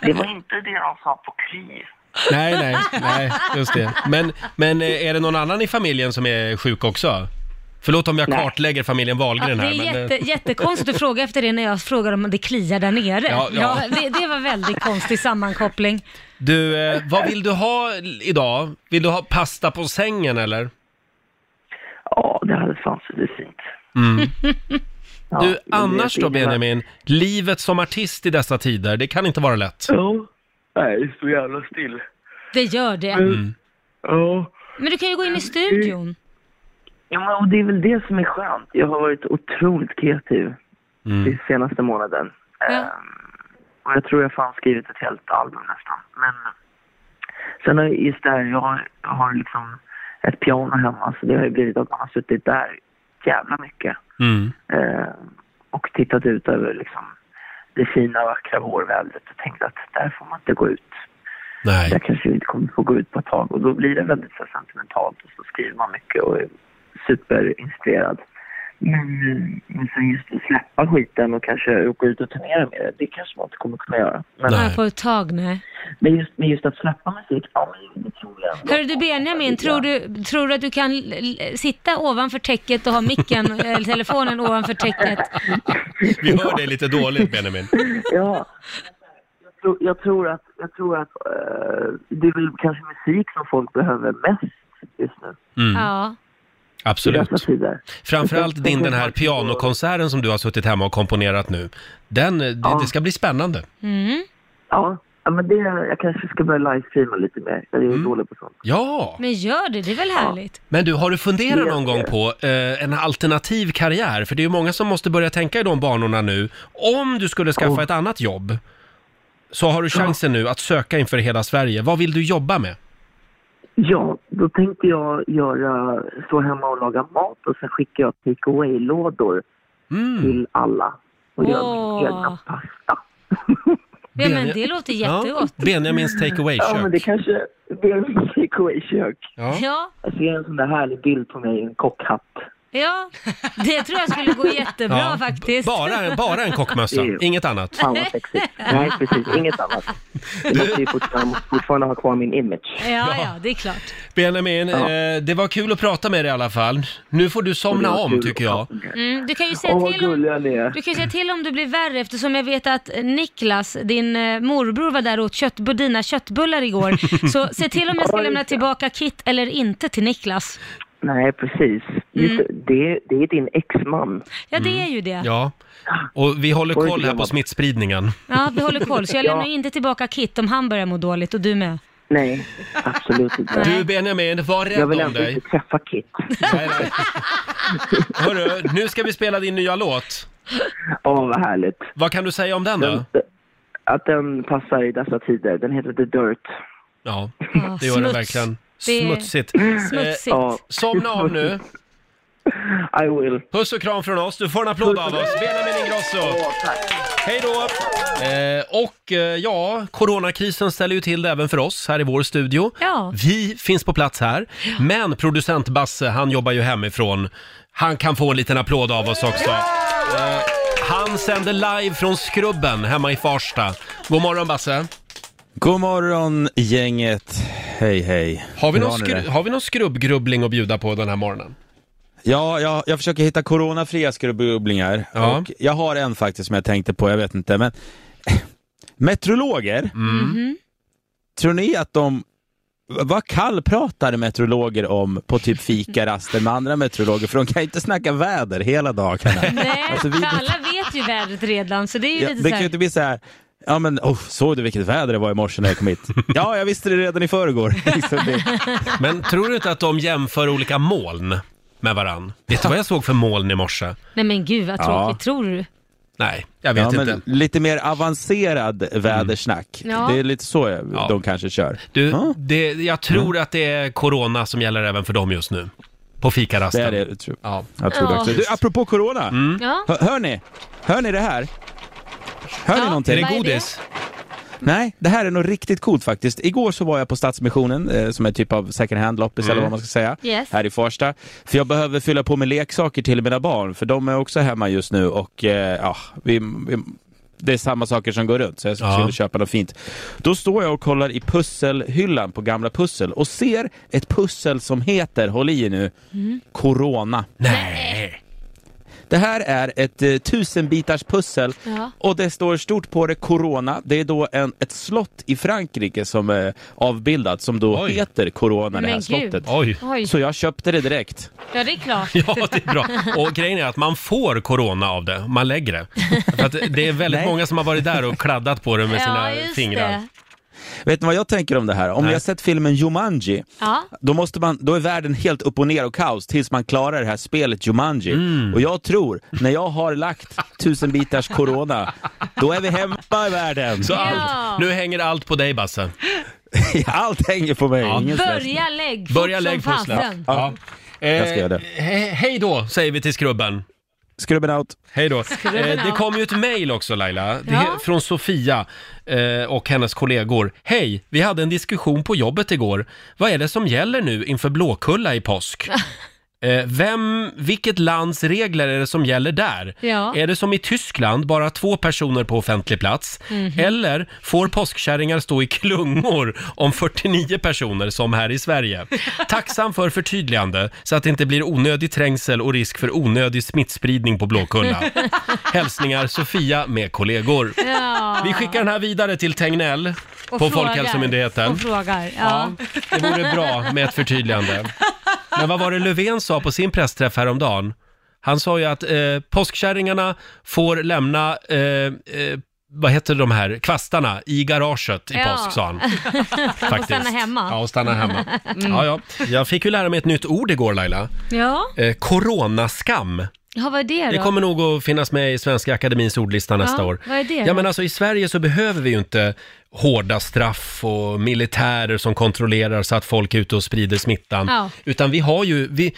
Det var inte det de sa på KRY. Nej, nej, nej, just det. Men, men eh, är det någon annan i familjen som är sjuk också? Förlåt om jag kartlägger familjen Ja, det Wahlgren är här, men... jätte, eh, jättekonstigt att fråga efter det när jag frågar om det kliar där nere. Ja, ja. det, det var väldigt konstig sammankoppling. Du, eh, vad vill du ha idag? Vill du ha pasta på sängen eller? Ja, det hade fan suttit fint. Ja, men Mm. Du, det- annars det då innebär- Benjamin, livet som artist i dessa tider, det kan inte vara lätt. Ja. Nej, det står jävla still. Det gör det. Mm. Ja. Men du kan ju gå in i studion. Ja, men och det är väl det som är skönt. Jag har varit otroligt kreativ Mm, den senaste månaden. Ja. Och jag tror jag fan skrivit ett helt album nästan. Men sen har jag- just det här, jag har, jag har liksom ett piano hemma så det har ju blivit att man har suttit där jävla mycket. Mm. Eh, och tittat ut över liksom det fina vackra vårvädret och tänkt att där får man inte gå ut. Nej. Där kanske vi inte kommer få gå ut på ett tag och då blir det väldigt så här sentimentalt och så skriver man mycket och är superinspirerad. Men, men sen just att släppa skiten och kanske åka ut och turnera med det, det kanske man inte kommer kunna göra. Men, Nej. Ja, på ett tag nu. men, just, men just att släppa musik, ja men det tror jag ändå. Hörru du Benjamin, tror du, tror du att du kan l- l- sitta ovanför täcket och ha micken, eller telefonen ovanför täcket? Mm. Vi hör dig lite dåligt Benjamin. Ja. Jag tror, jag tror att, jag tror att eh, det är väl kanske musik som folk behöver mest just nu Mm. Ja. i dessa Absolut. tider. Framförallt din den här pianokonserten som du har suttit hemma och komponerat nu. Den, eh, det, Ja. det ska bli spännande. Mm. Ja, ja, men det, jag kanske ska börja livestreama lite mer. Jag är Mm. dålig på sånt. Ja! Men gör det, det är väl härligt? Men du, har du funderat Det- någon gång på eh, en alternativ karriär? För det är ju många som måste börja tänka i de banorna nu. Om du skulle skaffa ett annat jobb så har du chansen nu att söka inför hela Sverige. Vad vill du jobba med? Ja, då tänkte jag göra, stå hemma och laga mat och sen skickar jag take away-lådor Mm. till alla och gör Åh. min egna pasta. Ja, men Benja- det låter jättegott. Ja, Benjamins Ja, men det takeaway-kök. kanske blir en take away-kök. Ja. Ja, Jag ser en sån där härlig bild på mig i en kockhatt. ja. Det tror jag skulle gå jättebra Ja, b- faktiskt. Bara, bara en kockmössa, Jo. inget annat. Fan vad sexigt. Nej, precis. Inget annat. Jag måste ju fortfarande, fortfarande ha kvar min image. Ja, ja, det är klart. Benjamin, Ja. eh, det var kul att prata med dig i alla fall. Nu får du Och det somna var kul om, tycker att jag. prata med er. Mm, du kan ju säga Åh, vad till om... gulliga ni är. Du kan ju säga till om du blir värre eftersom jag vet att Niklas, din eh, morbror var där och åt kött, dina köttbullar igår. Så se till om jag ska Ja, lämna just det. tillbaka kit eller inte till Niklas. Nej, precis. Just, Mm. det, det är din exman. Ja, det är ju det. Ja, Ja. Och vi håller Oj, koll här på vad- smittspridningen. vi håller koll. Så jag lämnar Ja. inte tillbaka kit om han börjar må dåligt och du med. Nej, absolut inte. Du Benjamin, var Jag rädd vill om ändå dig. inte träffa Kit. Nej, nej. Hörru, nu ska vi spela din nya låt. Åh, vad härligt. Vad kan du säga om den då? Den, att den passar i dessa tider. Den heter The Dirt. Ja, Ja, det gör den Ah, smuts. verkligen. Det är Smutsigt. Eh, Smutsigt. Ja, somna om nu. I will. Puss och kram från oss. Du får en applåd av oss. Benjamin Ingrosso. Hej då! Eh, och eh, ja, coronakrisen ställer ju till det även för oss här i vår studio. Ja. Vi finns på plats här, men producent Basse, han jobbar ju hemifrån. Han kan få en liten applåd av oss också. Eh, han sänder live från Skrubben hemma i Farsta. God morgon Basse! God morgon gänget. Hej hej. Har vi, Hur någon ni skru- det? har vi någon skrubbgrubbling att bjuda på den här morgonen? Ja, jag, jag försöker hitta coronafria skrubbgubblingar. Ja. Och jag har en faktiskt som jag tänkte på, jag vet inte. Men meteorologer, Mm. tror ni att de... Vad kallpratar meteorologer om på typ fikaraster med andra meteorologer? För de kan ju inte snacka väder hela dagarna. Nej, Alltså, vi- för alla vet ju vädret redan så det är ju Ja, det lite kan såhär... ju inte bli så här. Ja men oh, såg du vilket väder det var i morse när jag kom hit? Ja, jag visste det redan i förrgår. Liksom det- Men tror du inte att de jämför olika moln med varann? Vet du vad jag såg för moln i morse? Nej men gud vad Ja. tråkigt, tror du? Nej, jag vet ja, inte. Men lite mer avancerad vädersnack. Ja. Det är lite så jag- de kanske kör. Du, det, jag tror Mm. att det är corona som gäller även för dem just nu. På fikarasten. Det är det, jag tror, Ja. jag tror det Ja. också. Du, apropå corona. Mm. Ja. Hör, hör ni? Hör ni det här? Hör Ja. ni Är någonting? det Vad är godis? Nej, det här är nog riktigt coolt faktiskt. Igår så var jag på Stadsmissionen, eh, som är en typ av second hand-loppis eller vad man ska säga, Yes. här i Farsta. För jag behöver fylla på med leksaker till mina barn, för de är också hemma just nu och eh, ja, vi, vi, det är samma saker som går runt, så jag Ja. skulle köpa något fint. Då står jag och kollar i pusselhyllan på gamla pussel och ser ett pussel som heter, håll i er nu, Mm. Corona. Nej. Det här är ett eh, tusenbitars pussel Ja. och det står stort på det Corona. Det är då en, ett slott i Frankrike som är avbildat som då Oj. heter Corona, det Men här gud. slottet. Oj. Oj, Så jag köpte det direkt. ja det är klart. Ja, det är bra. Och grejen är att man får corona av det, man lägger det. För att det är väldigt Nej. många som har varit där och kladdat på det med sina ja, just fingrar. Det. Vet ni vad jag tänker om det här? Om Nej. ni har sett filmen Jumanji, Ja. då, måste man, då är världen helt upp och ner och kaos tills man klarar det här spelet Jumanji. Och jag tror, när jag har lagt tusenbitars Corona, då är vi hemma i världen. Så Ja. allt, nu hänger allt på dig Basse. Allt hänger på mig. Ingen stress. Börja lägg fort Börja som lägg pusslet. fasen. Ja. Jag ska göra det. Eh, he- hej då säger vi till skrubben. Skrubben out. Hej då. Skrubben Eh, det out. kom ju ett mejl också Laila, det, Ja. från Sofia eh, och hennes kollegor. Hej, vi hade en diskussion på jobbet igår. Vad är det som gäller nu inför Blåkulla i påsk? Eh, vem, vilket lands regler är det som gäller där? Ja. Är det som i Tyskland, bara två personer på offentlig plats? Mhm. Eller får påskkärringar stå i klungor om 49 personer som här i Sverige? Tacksam för förtydligande så att det inte blir onödig trängsel och risk för onödig smittspridning på Blåkulla. Hälsningar Sofia med kollegor. Ja. Vi skickar den här vidare till Tegnell på Och frågar. Folkhälsomyndigheten. Och frågar. Ja. Det vore bra med ett förtydligande. Men vad var det Löfven sa på sin pressträff häromdagen? Han sa ju att eh, påskkärringarna får lämna, eh, eh, vad heter de här, kvastarna i garaget i Ja. påsk, sa han. Faktiskt. stanna hemma. Mm. Ja, och stanna hemma. Ja, ja. Jag fick ju lära mig ett nytt ord igår, Laila. Ja. Eh, coronaskam. ja, vad är det då? Det kommer nog att finnas med i Svenska Akademins ordlista nästa år. vad är det Ja, då? men alltså i Sverige så behöver vi ju inte hårda straff och militärer som kontrollerar så att folk är ute och sprider smittan. Ja. Utan vi har ju, vi,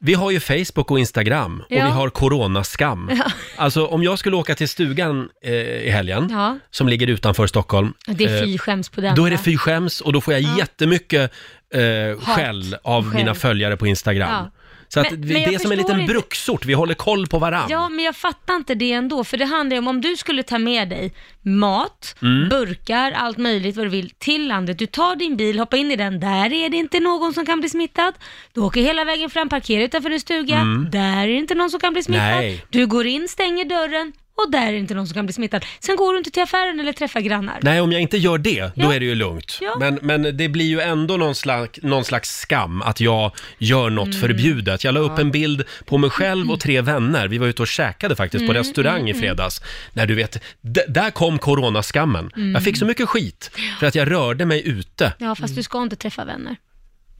vi har ju Facebook och Instagram och Ja. vi har coronaskam. Alltså om jag skulle åka till stugan eh, i helgen, Ja. som ligger utanför Stockholm, Det är eh, fy skäms på den. då är det va? fy skäms och då får jag jättemycket eh, Hat. skäll av Skäll. mina följare på Instagram. Ja. Så att Men- vi, men jag det är som en förstår liten inte- bruksort, vi håller koll på varandra. Ja, men jag fattar inte det ändå, för det handlar ju om om du skulle ta med dig mat, Mm. burkar, allt möjligt vad du vill till landet. Du tar din bil, hoppar in i den, där är det inte någon som kan bli smittad. Du åker hela vägen fram, parkerar utanför din stuga, där är det inte någon som kan bli smittad. Mm. Nej. Du går in, stänger dörren och där är det inte någon som kan bli smittad. Sen går du inte till affären eller träffar grannar. Nej, om jag inte gör det, då Ja. är det ju lugnt. Ja. Men, men det blir ju ändå någon slags, någon slags skam att jag gör något förbjudet. Jag la upp en bild på mig själv och tre vänner. Vi var ute och käkade faktiskt på restaurang i fredags. När du vet, d- där kom coronaskammen. Jag fick så mycket skit för att jag rörde mig ute. Ja, fast du ska inte träffa vänner.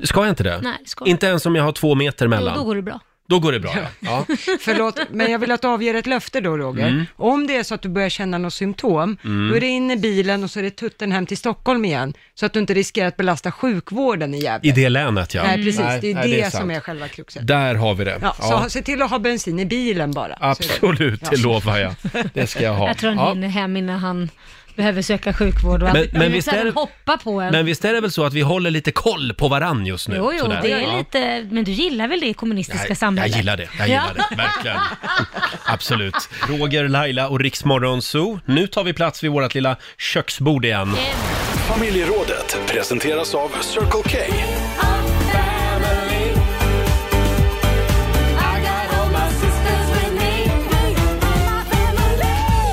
Ska jag inte det? Nej, det ska du inte ens om jag har två meter Då, mellan. då går det bra. det bra, ja. ja. Förlåt, men jag vill att du avger ett löfte då Roger. Mm. Om det är så att du börjar känna något symptom, då är det in i bilen och så är det tutten hem till Stockholm igen, så att du inte riskerar att belasta sjukvården i Gävle. I det länet, ja. Nej, precis. det är nej, det, sant. som är själva kruxet. Där har vi det. Ja, Ja. Så se till att ha bensin i bilen bara. Så är det- Absolut, det lovar jag. Det ska jag ha. Jag tror han Ja. hinner hem innan han behöver söka sjukvård och allt. men Han visst är sedan det- hoppa på en. Men visst är det väl så att vi håller lite koll på varann just nu? Jo, jo, Sådär. det är Ja. lite, men du gillar väl det kommunistiska Nej, samhället? Jag gillar det, jag gillar Ja. det, verkligen. Absolut. Roger, Laila och Riksmorgon Zoo. Nu tar vi plats vid vårt lilla köksbord igen. Familjerådet presenteras av Circle K.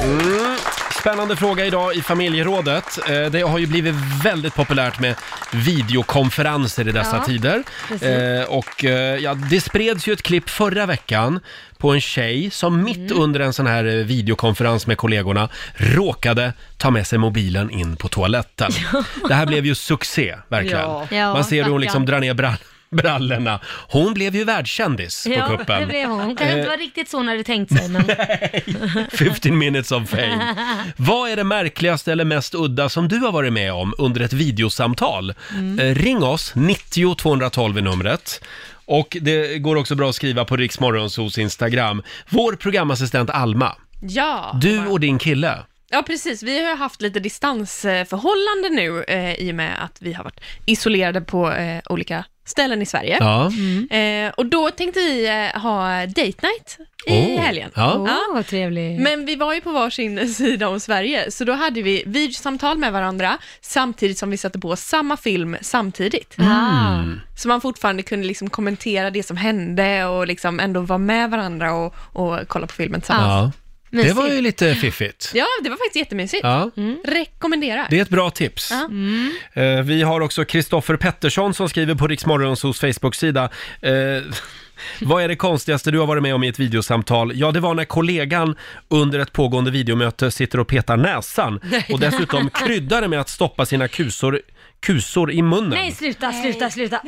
Mm. Spännande Avgörande fråga idag i familjerådet. Eh, Det har ju blivit väldigt populärt med videokonferenser i dessa Ja, tider. precis. Eh, Och eh, ja, det spreds ju ett klipp förra veckan på en tjej som mitt Mm. under en sån här eh, videokonferens med kollegorna råkade ta med sig mobilen in på toaletten. Det här blev ju succé, verkligen. Ja. Ja, Man ser hur hon liksom drar stackarn. ner brall- brallorna. Hon blev ju världskändis på Ja, kuppen. det blev hon. Hon kanske Eh, inte var riktigt så hon hade tänkt sig, men... 15 minutes of fame. Vad är det märkligaste eller mest udda som du har varit med om under ett videosamtal? Mm. Eh, Ring oss, 90 212 är numret. Och det går också bra att skriva på Riksmorgonsos Instagram. Vår programassistent Alma, Ja. du och din kille. Ja, precis. Vi har ju haft lite distansförhållande nu eh, i och med att vi har varit isolerade på eh, olika ställen i Sverige. Ja. Eh, och då tänkte vi eh, ha date night i Oh. Åh. helgen. Oh. Ja. Åh, vad trevligt. Men vi var ju på varsin sida om Sverige, så då hade vi videosamtal med varandra samtidigt som vi satte på samma film samtidigt. Mm. Så man fortfarande kunde liksom kommentera det som hände och liksom ändå vara med varandra och, och kolla på filmen Ja. tillsammans. Det var ju lite fiffigt. Ja, det var faktiskt jättemysigt. Ja. Mm. Rekommenderar. Det är ett bra tips. Ja. Eh, Vi har också Kristoffer Pettersson som skriver på Riksmorgonsos Facebook-sida. Eh, vad är det konstigaste du har varit med om i ett videosamtal? Ja, det var när kollegan under ett pågående videomöte sitter och petar näsan Nej. och dessutom kryddar det med att stoppa sina kusor, kusor i munnen. Nej, sluta, sluta, sluta.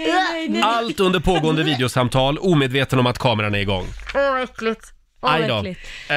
Allt under pågående videosamtal, omedveten om att kameran är igång. Åh, vad äckligt. Åh, Aj vad då. äckligt. Eh,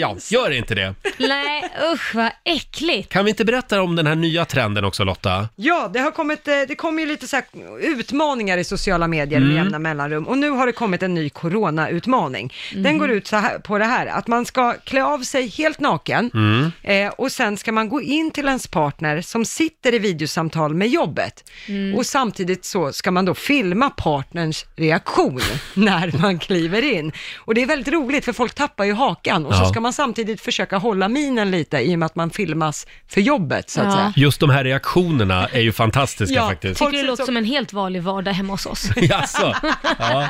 ja, gör inte det. Nej, usch vad äckligt. Kan vi inte berätta om den här nya trenden också Lotta? Ja, det har kommit, eh, det kommer ju lite så här utmaningar i sociala medier Mm. med jämna mellanrum och nu har det kommit en ny coronautmaning. Mm. Den går ut så här, på det här, att man ska klä av sig helt naken Mm. eh, och sen ska man gå in till ens partner som sitter i videosamtal med jobbet Mm. och samtidigt så ska man då filma partnerns reaktion när man kliver in. Och det är väldigt roligt för folk tappar ju hakan och så Ja. ska man samtidigt försöka hålla minen lite i och med att man filmas för jobbet så att säga. Just de här reaktionerna är ju fantastiska Ja, faktiskt. Tycker det låter som en helt vanlig vardag hemma hos oss. Jaså? Ja.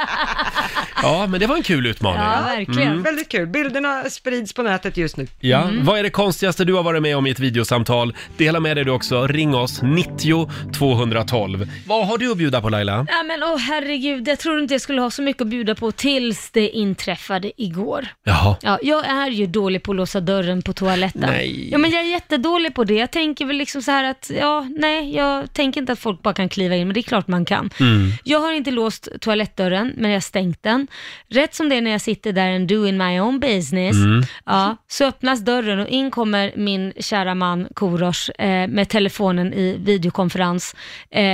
ja, men det var en kul utmaning. Mm. Väldigt kul. Bilderna sprids på nätet just nu. Ja, vad är det konstigaste du har varit med om i ett videosamtal? Dela med dig du också. Ring oss, 90 212. Vad har du att bjuda på Laila? Ja, men åh herregud, jag tror inte jag skulle ha så mycket att bjuda på tills det inträffade igår. Jaha. Ja, jag är ju dålig på att låsa dörren på toaletten. Nej. Ja, men jag är jättedålig på det. Jag tänker väl liksom så här att, ja, nej, jag tänker inte att folk bara kan kliva in, men det är klart man kan. Mm. Jag har inte låst toalettdörren, men jag har stängt den. Rätt som det är när jag sitter där and doing my own business, Mm. ja, så öppnas dörren och in kommer min kära man Korosh eh, med telefonen i videokonferens eh,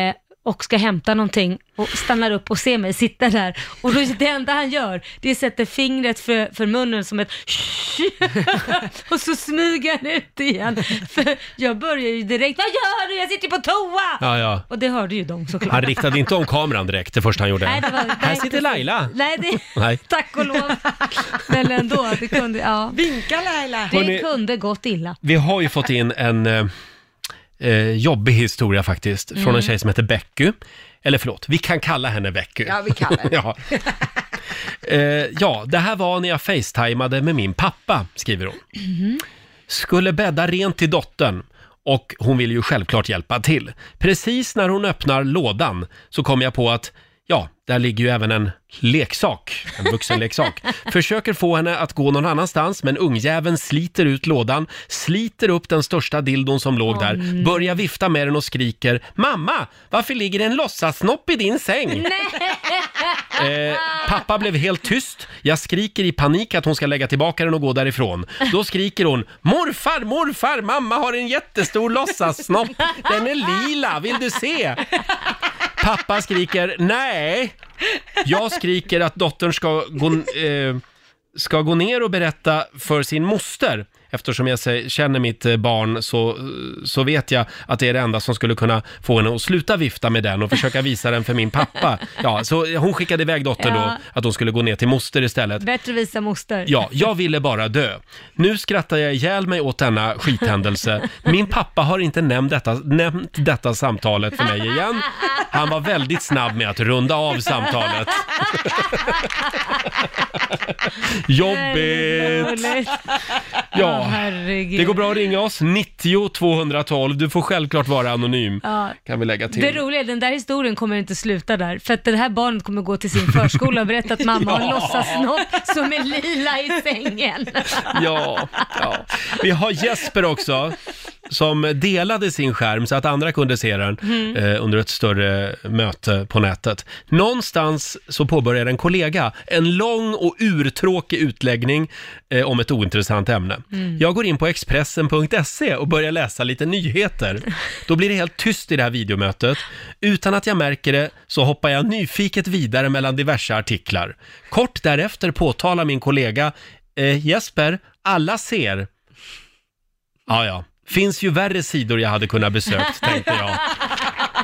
och ska hämta någonting och stannar upp och ser mig sitta där. Och då, det enda han gör, det är sätter fingret för, för munnen som ett och så smyger han ut igen. För jag börjar ju direkt, vad gör du? Jag sitter på toa! Ja, ja. Och det hörde ju de såklart. Han riktade inte om kameran direkt, det första han gjorde. Nej, det var, Här sitter Laila. Nej, det, Nej. tack och lov. Men ändå, det kunde, ja. Vinka Laila! Det Hörrni- kunde gått illa. Vi har ju fått in en eh, eh, jobbig historia faktiskt, från Mm. en tjej som heter Becky. Eller förlåt, vi kan kalla henne Becky. Ja, vi kallar henne. ja. Eh, ja, det här var när jag facetimade med min pappa, skriver hon. Skulle bädda rent till dottern och hon vill ju självklart hjälpa till. Precis när hon öppnar lådan så kom jag på att Ja, där ligger ju även en leksak, en vuxenleksak. Försöker få henne att gå någon annanstans, men ungjäveln sliter ut lådan, sliter upp den största dildon som låg där, börjar vifta med den och skriker “Mamma, varför ligger det en låtsasnopp i din säng?” Eh, pappa blev helt tyst. Jag skriker i panik att hon ska lägga tillbaka den och gå därifrån. Då skriker hon “Morfar, morfar, mamma har en jättestor låtsassnopp. Den är lila, vill du se?” Pappa skriker “Nej!” Jag skriker att dottern ska gå, eh, ska gå ner och berätta för sin moster. Eftersom jag sä- känner mitt eh, barn så, så vet jag att det är det enda som skulle kunna få henne att sluta vifta med den och försöka visa den för min pappa. Ja, så hon skickade iväg dottern Ja. då, att hon skulle gå ner till moster istället. Bättre visa moster. Ja, jag ville bara dö. Nu skrattar jag ihjäl mig åt denna skithändelse. Min pappa har inte nämnt detta, nämnt detta samtalet för mig igen. Han var väldigt snabb med att runda av samtalet. Jobbigt! Ja, herregud. Det går bra att ringa oss, 90 212. Du får självklart vara anonym. Ja. Kan vi lägga till. Det roliga är den där historien kommer inte sluta där. För att det här barnet kommer gå till sin förskola och berätta att mamma har en Ja. låtsasnopp som är lila i sängen. Ja, ja. Vi har Jesper också, som delade sin skärm så att andra kunde se den Mm. eh, under ett större möte på nätet. Någonstans så påbörjade en kollega en lång och urtråkig utläggning eh, om ett ointressant ämne. Mm. Jag går in på Expressen.se och börjar läsa lite nyheter. Då blir det helt tyst i det här videomötet. Utan att jag märker det så hoppar jag nyfiket vidare mellan diverse artiklar. Kort därefter påtalar min kollega eh, Jesper, alla ser. Ja, ja. Finns ju värre sidor jag hade kunnat besökt, tänkte jag.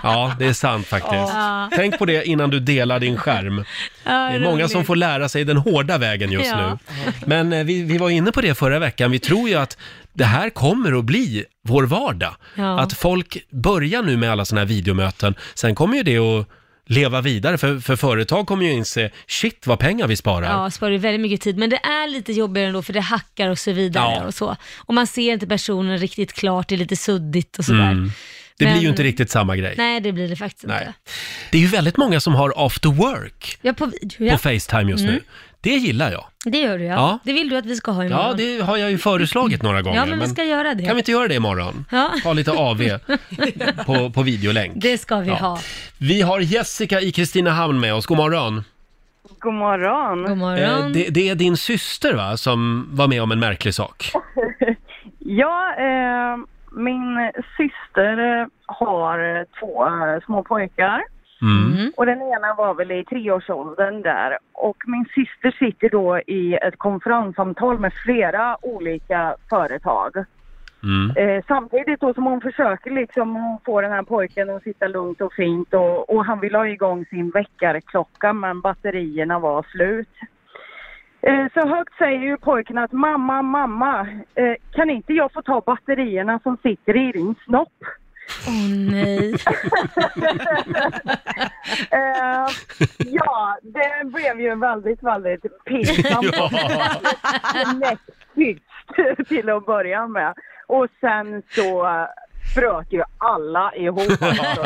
Ja, det är sant faktiskt. Ja. Tänk på det innan du delar din skärm. Ja, Det är många som får lära sig den hårda vägen just Ja. nu. Men eh, vi, vi var inne på det förra veckan. Vi tror ju att det här kommer att bli vår vardag. Ja. Att folk börjar nu med alla sådana här videomöten. Sen kommer ju det att leva vidare, för, för företag kommer ju inse, shit vad pengar vi sparar. Ja, sparar ju väldigt mycket tid. Men det är lite jobbigare ändå för det hackar och så vidare Ja. och så. Och man ser inte personen riktigt klart, det är lite suddigt och sådär. Mm. Det Men- blir ju inte riktigt samma grej. Nej, det blir det faktiskt Nej. inte. Det är ju väldigt många som har after work Ja, på video, ja. på Facetime just nu. Mm. Det gillar jag. Det gör du ja. Ja. Det vill du att vi ska ha imorgon. Ja, det har jag ju föreslagit några gånger. Ja, men vi ska göra det. Kan vi inte göra det imorgon? Ja. Ta lite AV på, på videolänk. Det ska vi Ja. ha. Vi har Jessica i Kristinehamn med oss. God morgon. God morgon. God Eh, det, det är din syster va, som var med om en märklig sak? Ja, eh, min syster eh, har två eh, små pojkar. Mm. Mm. Och den ena var väl i treårsåldern där. Och min syster sitter då i ett konferenssamtal med flera olika företag. Mm. Eh, samtidigt då som hon försöker liksom få den här pojken att sitta lugnt och fint och, och han vill ha igång sin väckarklocka men batterierna var slut. Eh, Så högt säger ju pojken att mamma, mamma, eh, kan inte jag få ta batterierna som sitter i din snopp? Åh nej. Eh, ja, det blev ju väldigt, väldigt pinsamt. Knäpptyst till att börja med. Och sen så eh, bröt ju alla ihop. Alltså,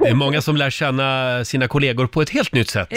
Det är många som lär känna sina kollegor på ett helt nytt sätt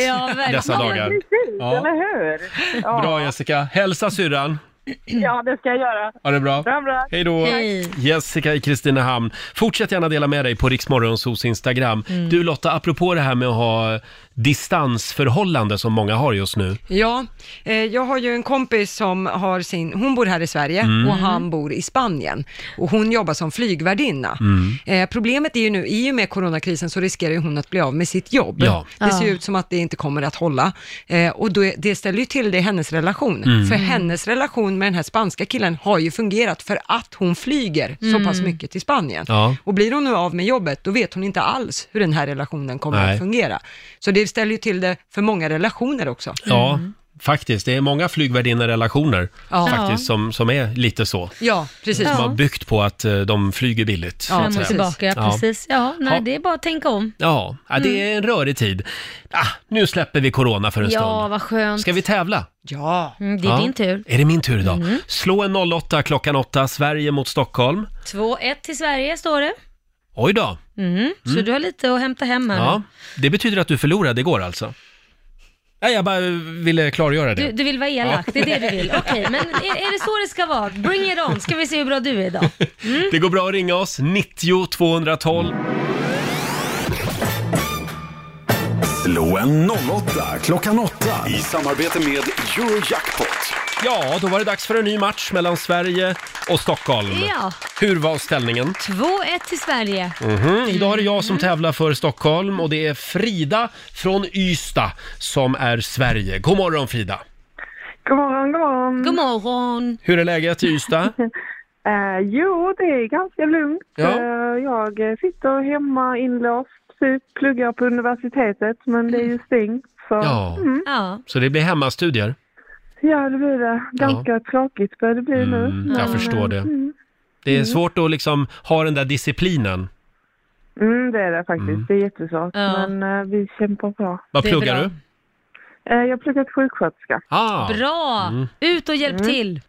dessa dagar. Precis, Ja. eller hur? Ja. Bra Jessica. Hälsa syrran. ja, det ska jag göra. Ha det bra. Bra, bra. Hej då! Hej. Jessica i Kristinehamn. Fortsätt gärna dela med dig på Riksmorgonsos Instagram. Mm. Du Lotta, apropå det här med att ha distansförhållande som många har just nu. Ja, eh, jag har ju en kompis som har sin, hon bor här i Sverige Mm. och han bor i Spanien och hon jobbar som flygvärdinna. Mm. Eh, problemet är ju nu, i och med coronakrisen så riskerar ju hon att bli av med sitt jobb. Ja. Det ser ju Ja. ut som att det inte kommer att hålla eh, och då, det ställer ju till det i hennes relation. Mm. För Mm. hennes relation med den här spanska killen har ju fungerat för att hon flyger så Mm. pass mycket till Spanien. Ja. Och blir hon nu av med jobbet, då vet hon inte alls hur den här relationen kommer Nej. att fungera. Så det ställer ju till det för många relationer också. Ja, faktiskt. Det är många flygvärdinnerelationer Ja. faktiskt som, som är lite så. Ja, precis. Som Ja. har byggt på att eh, de flyger billigt. så att Fram och säga. tillbaka, ja, precis. Ja, nej, Ja. det är bara att tänka om. Ja, ja det är en rörig tid. Ah, nu släpper vi corona för en Ja, stund. vad skönt. Ska vi tävla? Ja. Mm, det är Ja. din tur. Mm. Är det min tur idag? Slå en 08 klockan 8, Sverige mot Stockholm. 2-1 till Sverige står det. Oj då. Mm. Så Mm. du har lite att hämta hem här Ja, det betyder att du förlorade igår alltså? Nej, jag bara eh, ville klargöra det. Du, du vill vara elak, Ja. det är det du vill. Okej, men är, är det så det ska vara? Bring it on, ska vi se hur bra du är idag. Det går bra att ringa oss, 90 212. Slå en 08 klockan 8 i samarbete med Eurojackpot. Ja, då var det dags för en ny match mellan Sverige och Stockholm. Ja. Hur var ställningen? 2-1 till Sverige. Mhm. Idag är det jag som Mm. tävlar för Stockholm och det är Frida från Ystad som är Sverige. God morgon Frida! God morgon, god morgon. God morgon. Hur är läget i Ystad? Eh, jo, det är ganska lugnt. Ja. Eh, jag eh, sitter hemma inlåst, typ pluggar på universitetet, men det är ju Mm. stängt. Så. Ja. Mm. ja. Så det blir hemmastudier? det blir det. Ganska tråkigt börjar det bli nu. Mm, jag men, förstår eh, det. Mm, Det är svårt att liksom ha den där disciplinen. Mm. mm, det är det faktiskt. Det är jättesvårt, Ja. men eh, vi kämpar på. Vad pluggar du? Eh, Jag har pluggat sjuksköterska. Ah. Bra! Mm. Ut och hjälp till!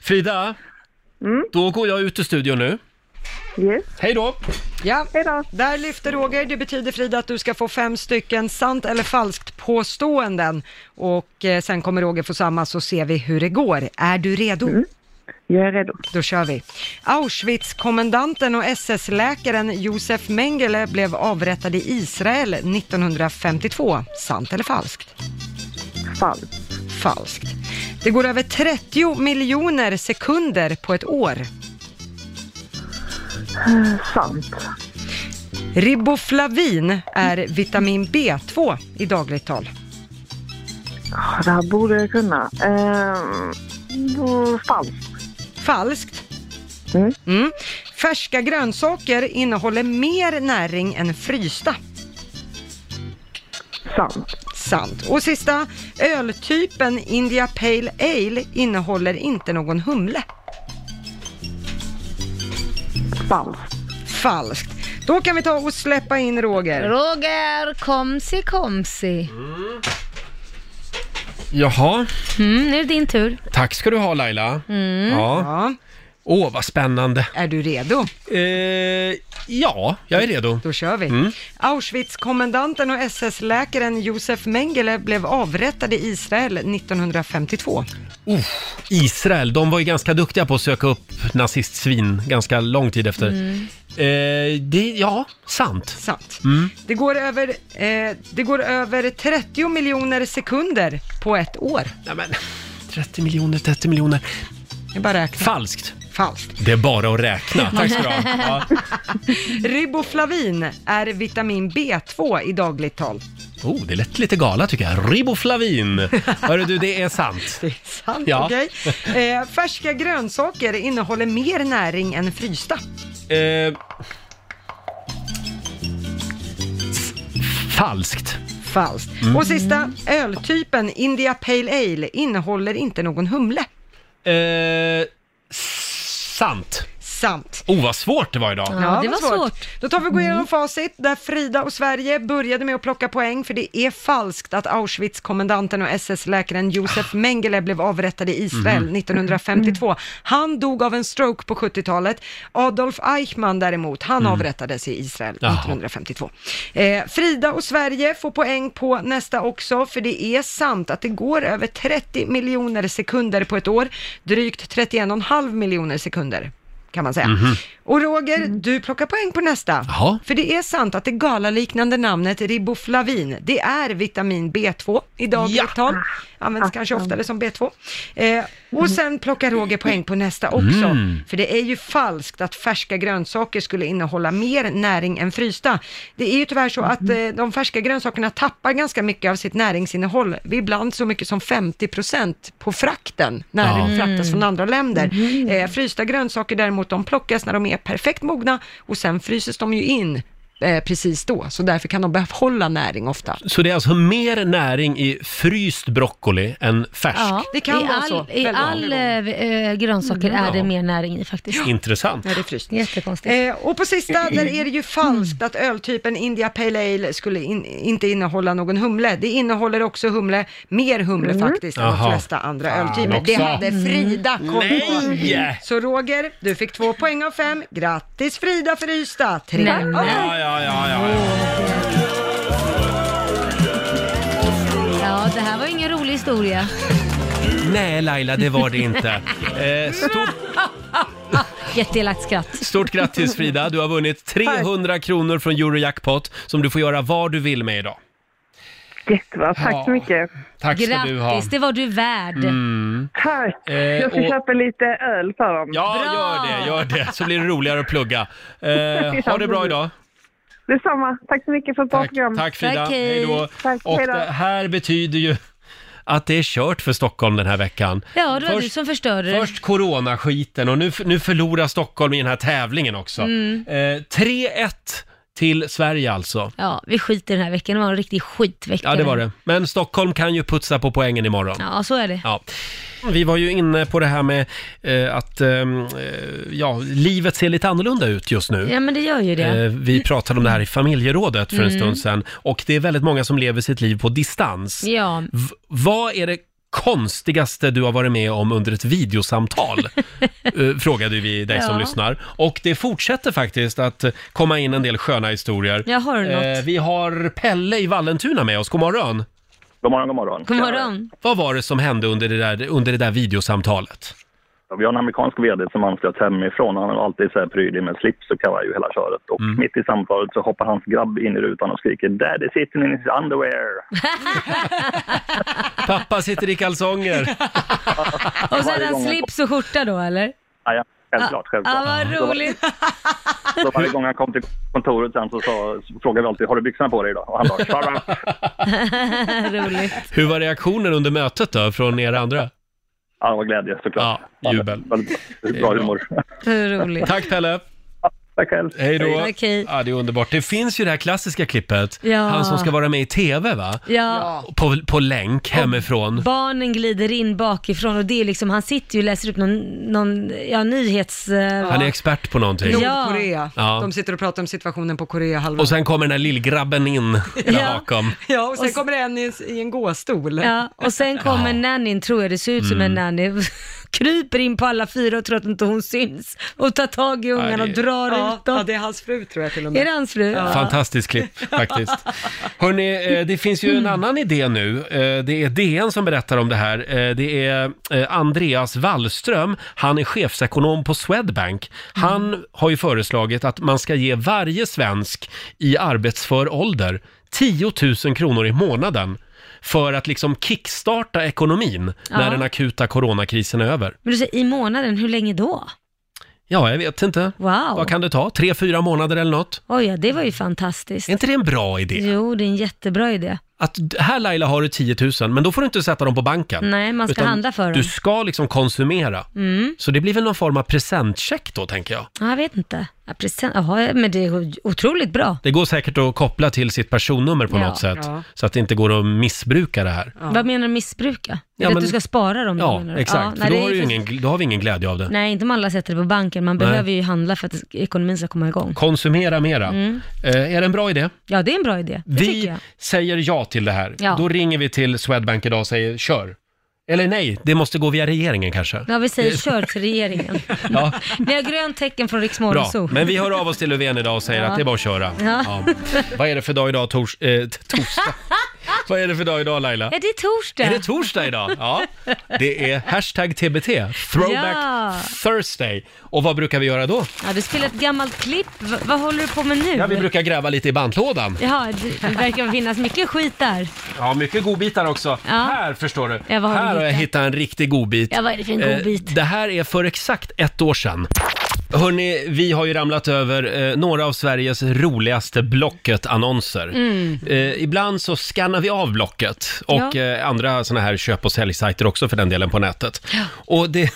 Frida, då går jag ut ur studion nu. Hej då! Ja, där lyfter Roger. Det betyder Frida att du ska få fem stycken sant eller falskt påståenden. Och eh, sen kommer Roger få samma så ser vi hur det går. Är du redo? Jag är redo. Då kör vi. Auschwitz-kommandanten och SS-läkaren Josef Mengele blev avrättad i Israel 1952. Sant eller falskt? Falskt. Falskt. Det går över 30 miljoner sekunder på ett år. Eh, Sant. Riboflavin är vitamin B2 i dagligt tal. Ah, Det här borde jag kunna. Ehm, då- falskt. Falskt? Mm. Färska grönsaker innehåller mer näring än frysta. Sant. Sant. Och sista, öltypen India Pale Ale innehåller inte någon humle. Falskt. Falskt. Då kan vi ta och släppa in Roger. Roger, komsi komsi. Jaha, Mm, nu är det din tur. tack ska du ha Laila. Mm. Ja. Åh, vad spännande. Eh, Är du redo? ja, jag är redo. Då kör vi. Mm. Auschwitz-kommandanten och SS-läkaren Josef Mengele blev avrättad i Israel 1952. Israel, de var ju ganska duktiga på att söka upp nazistsvin ganska lång tid efter. Mm. Eh, det, ja, sant. Sant. Mm. Det går, över, eh, det går över 30 miljoner sekunder på ett år. Nej, 30 miljoner, 30 miljoner. Jag bara räknar. Falskt. Falskt. Det är bara att räkna. Tack ska du ha. Ja. Riboflavin är vitamin B2 i dagligt tal. Oh, det lät lite gala tycker jag. Riboflavin. Hörru du, det är sant. Det är sant, ja. okej? Eh, färska grönsaker innehåller mer näring än frysta. Eh, s- falskt. Falskt. Mm. Och sista, öltypen India Pale Ale innehåller inte någon humle. Eh, sant. Sant. Oh, vad svårt det var idag. vad Då tar vi och går Mm. igenom facit där Frida och Sverige började med att plocka poäng för det är falskt att Auschwitz-kommandanten och SS-läkaren Josef Mengele blev avrättad i Israel Mhm. 1952. Han dog av en stroke på 70-talet. Adolf Eichmann däremot, han Mm. avrättades i Israel Jaha. 1952. Eh, Frida och Sverige får poäng på nästa också för det är sant att det går över 30 miljoner sekunder på ett år, drygt 31,5 miljoner sekunder kan man säga. Mhm. Och Roger, du plockar poäng på nästa. Jaha. För det är sant att det galaliknande namnet riboflavin, det är vitamin B2 i dagligt tal. Används kanske oftare som B2. Eh, och sen plockar Roger poäng på nästa också. Mm. För det är ju falskt att färska grönsaker skulle innehålla mer näring än frysta. Det är ju tyvärr så att Mm. eh, de färska grönsakerna tappar ganska mycket av sitt näringsinnehåll. Ibland så mycket som 50% på frakten, när Ja. de fraktas Mm. Mm-hmm. från andra länder. Eh, frysta grönsaker däremot, de plockas när de är perfekt mogna och sen fryses de ju in eh, precis då, så därför kan de behålla näring ofta. Så det är alltså mer näring i fryst broccoli än färsk? Ja, Det kan I vara all, så. I Väldigt all eh, grönsaker Mm. är det mer näring i faktiskt. Intressant. det är fryst. Jättekonstigt. Eh, och på sista, där är det ju falskt att öltypen India Pale Ale skulle in, inte innehålla någon humle. Det innehåller också humle, mer humle Mm. faktiskt, än de Jaha. flesta andra Fan öltyper. Det också. Mm. hade Frida koll på. Nej! Så Roger, du fick två poäng av fem. Grattis Frida för Ystad! Tre Nej, men- av fem. Ja, ja, ja, ja, ja. Ja, det här var ingen rolig historia. Nej, Laila, det var det inte. Eh, stort, Jätteelakt skratt. stort grattis Frida, du har vunnit 300 kronor från Eurojackpot som du får göra vad du vill med idag. Jättebra, tack Ja. så mycket. Tack ska du ha. Grattis, det var du värd. Mm. Tack! Eh, jag ska och- köpa lite öl för dem. Ja, gör det, gör det, så blir det roligare att plugga. Eh, ha det bra idag. Detsamma. Tack så mycket för ett bra program. Tack Frida, hej då. Tack, Och hej då. det här betyder ju att det är kört för Stockholm den här veckan. Ja, det var du Först- som förstörde det. Först coronaskiten och nu, nu förlorar Stockholm i den här tävlingen också. Mm. Eh, 3-1 till Sverige alltså. Ja, vi skiter i den här veckan. Det var en riktig skitvecka. Ja, det var det. Men Stockholm kan ju putsa på poängen imorgon. Ja, så är det. Ja. Vi var ju inne på det här med eh, att eh, ja, livet ser lite annorlunda ut just nu. Ja, men det gör ju det. Eh, vi pratade om det här i familjerådet för en Mm. stund sedan och det är väldigt många som lever sitt liv på distans. Ja. V- vad är det konstigaste du har varit med om under ett videosamtal? Eh, Frågade vi dig som Ja. lyssnar. Och det fortsätter faktiskt att komma in en del sköna historier. Jag har något. Eh, Vi har Pelle i Vallentuna med oss. God morgon! God morgon, god morgon. God morgon. Vad var det som hände under det där, under det där videosamtalet? Ja, Vi har en amerikansk vd som anslöt hemifrån. Han är alltid så här prydig med slips och kavaj och hela köret. Och Mm. mitt i samtalet så hoppar hans grabb in i rutan och skriker “Daddy sitting in his underwear”. Pappa sitter i kalsonger. Och så hade Varje han gång- slips och skjorta då, eller? Ja, ja, självklart, självklart. Ja, vad Så var- roligt. Så varje gång han kom till kontoret sen så, sa, så frågade vi alltid “Har du byxorna på dig idag?” och han bara “Shut up!” roligt. Hur var reaktionen under mötet då, från er andra? Ja, det var glädje såklart. Ja, jubel. Bra humor. Hur roligt. Tack Pelle! Tack själv. Hej då! Tack, hej. Ja, det är underbart. Det finns ju det här klassiska klippet, Ja. han som ska vara med i TV va? Ja. På, på länk hemifrån. Barnen glider in bakifrån och det är liksom, han sitter ju och läser upp någon, någon ja, nyhets... eh, Han är expert på någonting. Nordkorea. Ja. De sitter och pratar om situationen på Koreahalvön. Och sen kommer den här lillgrabben in där Ja. bakom. Ja, och sen kommer det en i, i en gåstol. Ja, och sen kommer nannyn, tror jag det ser ut som en nanny, kryper in på alla fyra och tror att inte hon syns och tar tag i ungarna det- och drar Ja, ut dem. ja, det är hans fru tror jag till och med. Är det hans fru? Ja. Fantastiskt klipp faktiskt. Hörrni, eh, det finns ju en Mm. annan idé nu. Eh, Det är DN som berättar om det här. Eh, Det är eh, Andreas Wallström. Han är chefsekonom på Swedbank. Mm. Han har ju föreslagit att man ska ge varje svensk i arbetsför ålder 10 000 kronor i månaden för att liksom kickstarta ekonomin Ja. när den akuta coronakrisen är över. Men du säger i månaden, hur länge då? Ja, jag vet inte. Wow. Vad kan det ta? Tre, fyra månader eller något? Oj, ja, det var ju fantastiskt. Är inte det en bra idé? Jo, det är en jättebra idé. att här Laila har du 10 000, men då får du inte sätta dem på banken. Nej, man ska Utan handla för dem. Du ska liksom konsumera. Mm. Så det blir väl någon form av presentcheck då, tänker jag. Ja, jag vet inte. Ja, present. Jaha, men det är otroligt bra. Det går säkert att koppla till sitt personnummer på Ja. något sätt, Ja. så att det inte går att missbruka det här. Vad menar du missbruka? Är Ja, det men- att du ska spara dem? Ja, menar du? exakt. nej, för det då har, är du ju för- ingen, då har vi ingen glädje av det. Nej, inte om alla sätter det på banken. Man Nej. behöver ju handla för att ekonomin ska komma igång. Konsumera mera. Mm. Eh, är det en bra idé? Ja, det är en bra idé. Det tycker Vi jag. säger ja till det här. Ja. Då ringer vi till Swedbank idag och säger kör. Eller nej, det måste gå via regeringen kanske. Ja, vi säger Det- kör till regeringen. Ja. Vi har grönt tecken från Rix Morgon Bra, Zoo. men vi hör av oss till Löfven idag och säger Ja. att det är bara att köra. Ja. Vad är det för dag idag? Tors, eh, t- torsdag? Vad är det för dag idag Laila? Är det torsdag? Är det torsdag idag? Ja, det är hashtag TBT, throwback Ja. Thursday. Och vad brukar vi göra då? Ja, du spelar ett gammalt klipp. V- vad håller du på med nu? Ja, vi brukar gräva lite i bandlådan. Jaha, det det verkar finnas mycket skit där. Ja, mycket godbitar också. Här förstår du. Ja, vad har du här har jag hittat? hittat en riktig godbit. Ja, vad är det för en godbit? Eh, det här är för exakt ett år sedan. Hörni, vi har ju ramlat över eh, några av Sveriges roligaste Blocket-annonser. Mm. Eh, ibland så skannar vi av Blocket och Ja. eh, andra såna här köp och säljsajter också för den delen på nätet. Och det,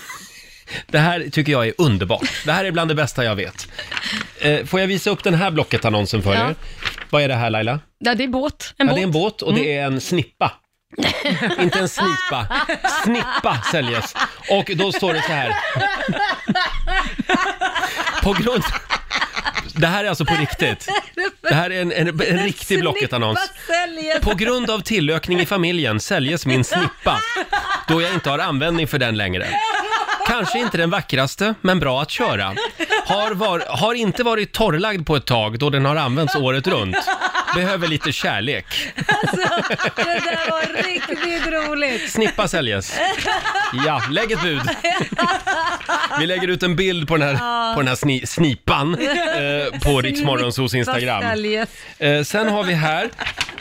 det här tycker jag är underbart. Det här är bland det bästa jag vet. Eh, får jag visa upp den här Blocket-annonsen för Ja. er? Vad är det här Laila? Ja, det är båt. ja, det är en båt och det är en snippa. Inte en snipa. Snippa säljes. Och då står det så här. På grund... Det här är alltså på riktigt. Det här är en, en, en riktig Blocket-annons. På grund av tillökning i familjen säljes min snippa då jag inte har användning för den längre. Kanske inte den vackraste, men bra att köra. Har, var, har inte varit torrlagd på ett tag då den har använts året runt. Behöver lite kärlek. Det där var riktigt roligt. Snippa säljes. Ja, lägg ett bud. Vi lägger ut en bild på den här, Ja. på den här sni, snipan eh, på Riksmorgonsos Instagram. Vad säljes? Eh, sen har vi här,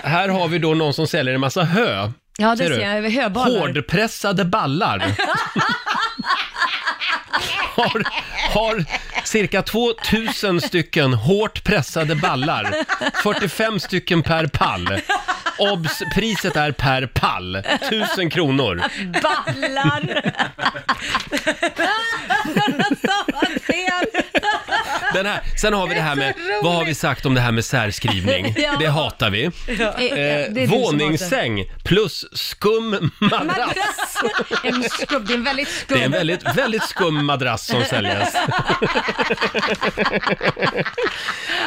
här har vi då någon som säljer en massa hö. Ja, det du? ser jag. Höballar. Hårdpressade ballar. har, har cirka 2000 stycken hårt pressade ballar. 45 stycken per pall. Obs! Priset är per pall. 1000 kronor. Ballar! Den här, sen har vi det här med, vad har vi sagt om det här med särskrivning? Ja. Det hatar vi. Ja. Det är du Eh, som våningssäng plus skum madrass. Madrass! En skubb, det är en väldigt skubb. Det är en väldigt, väldigt skum madrass som säljs.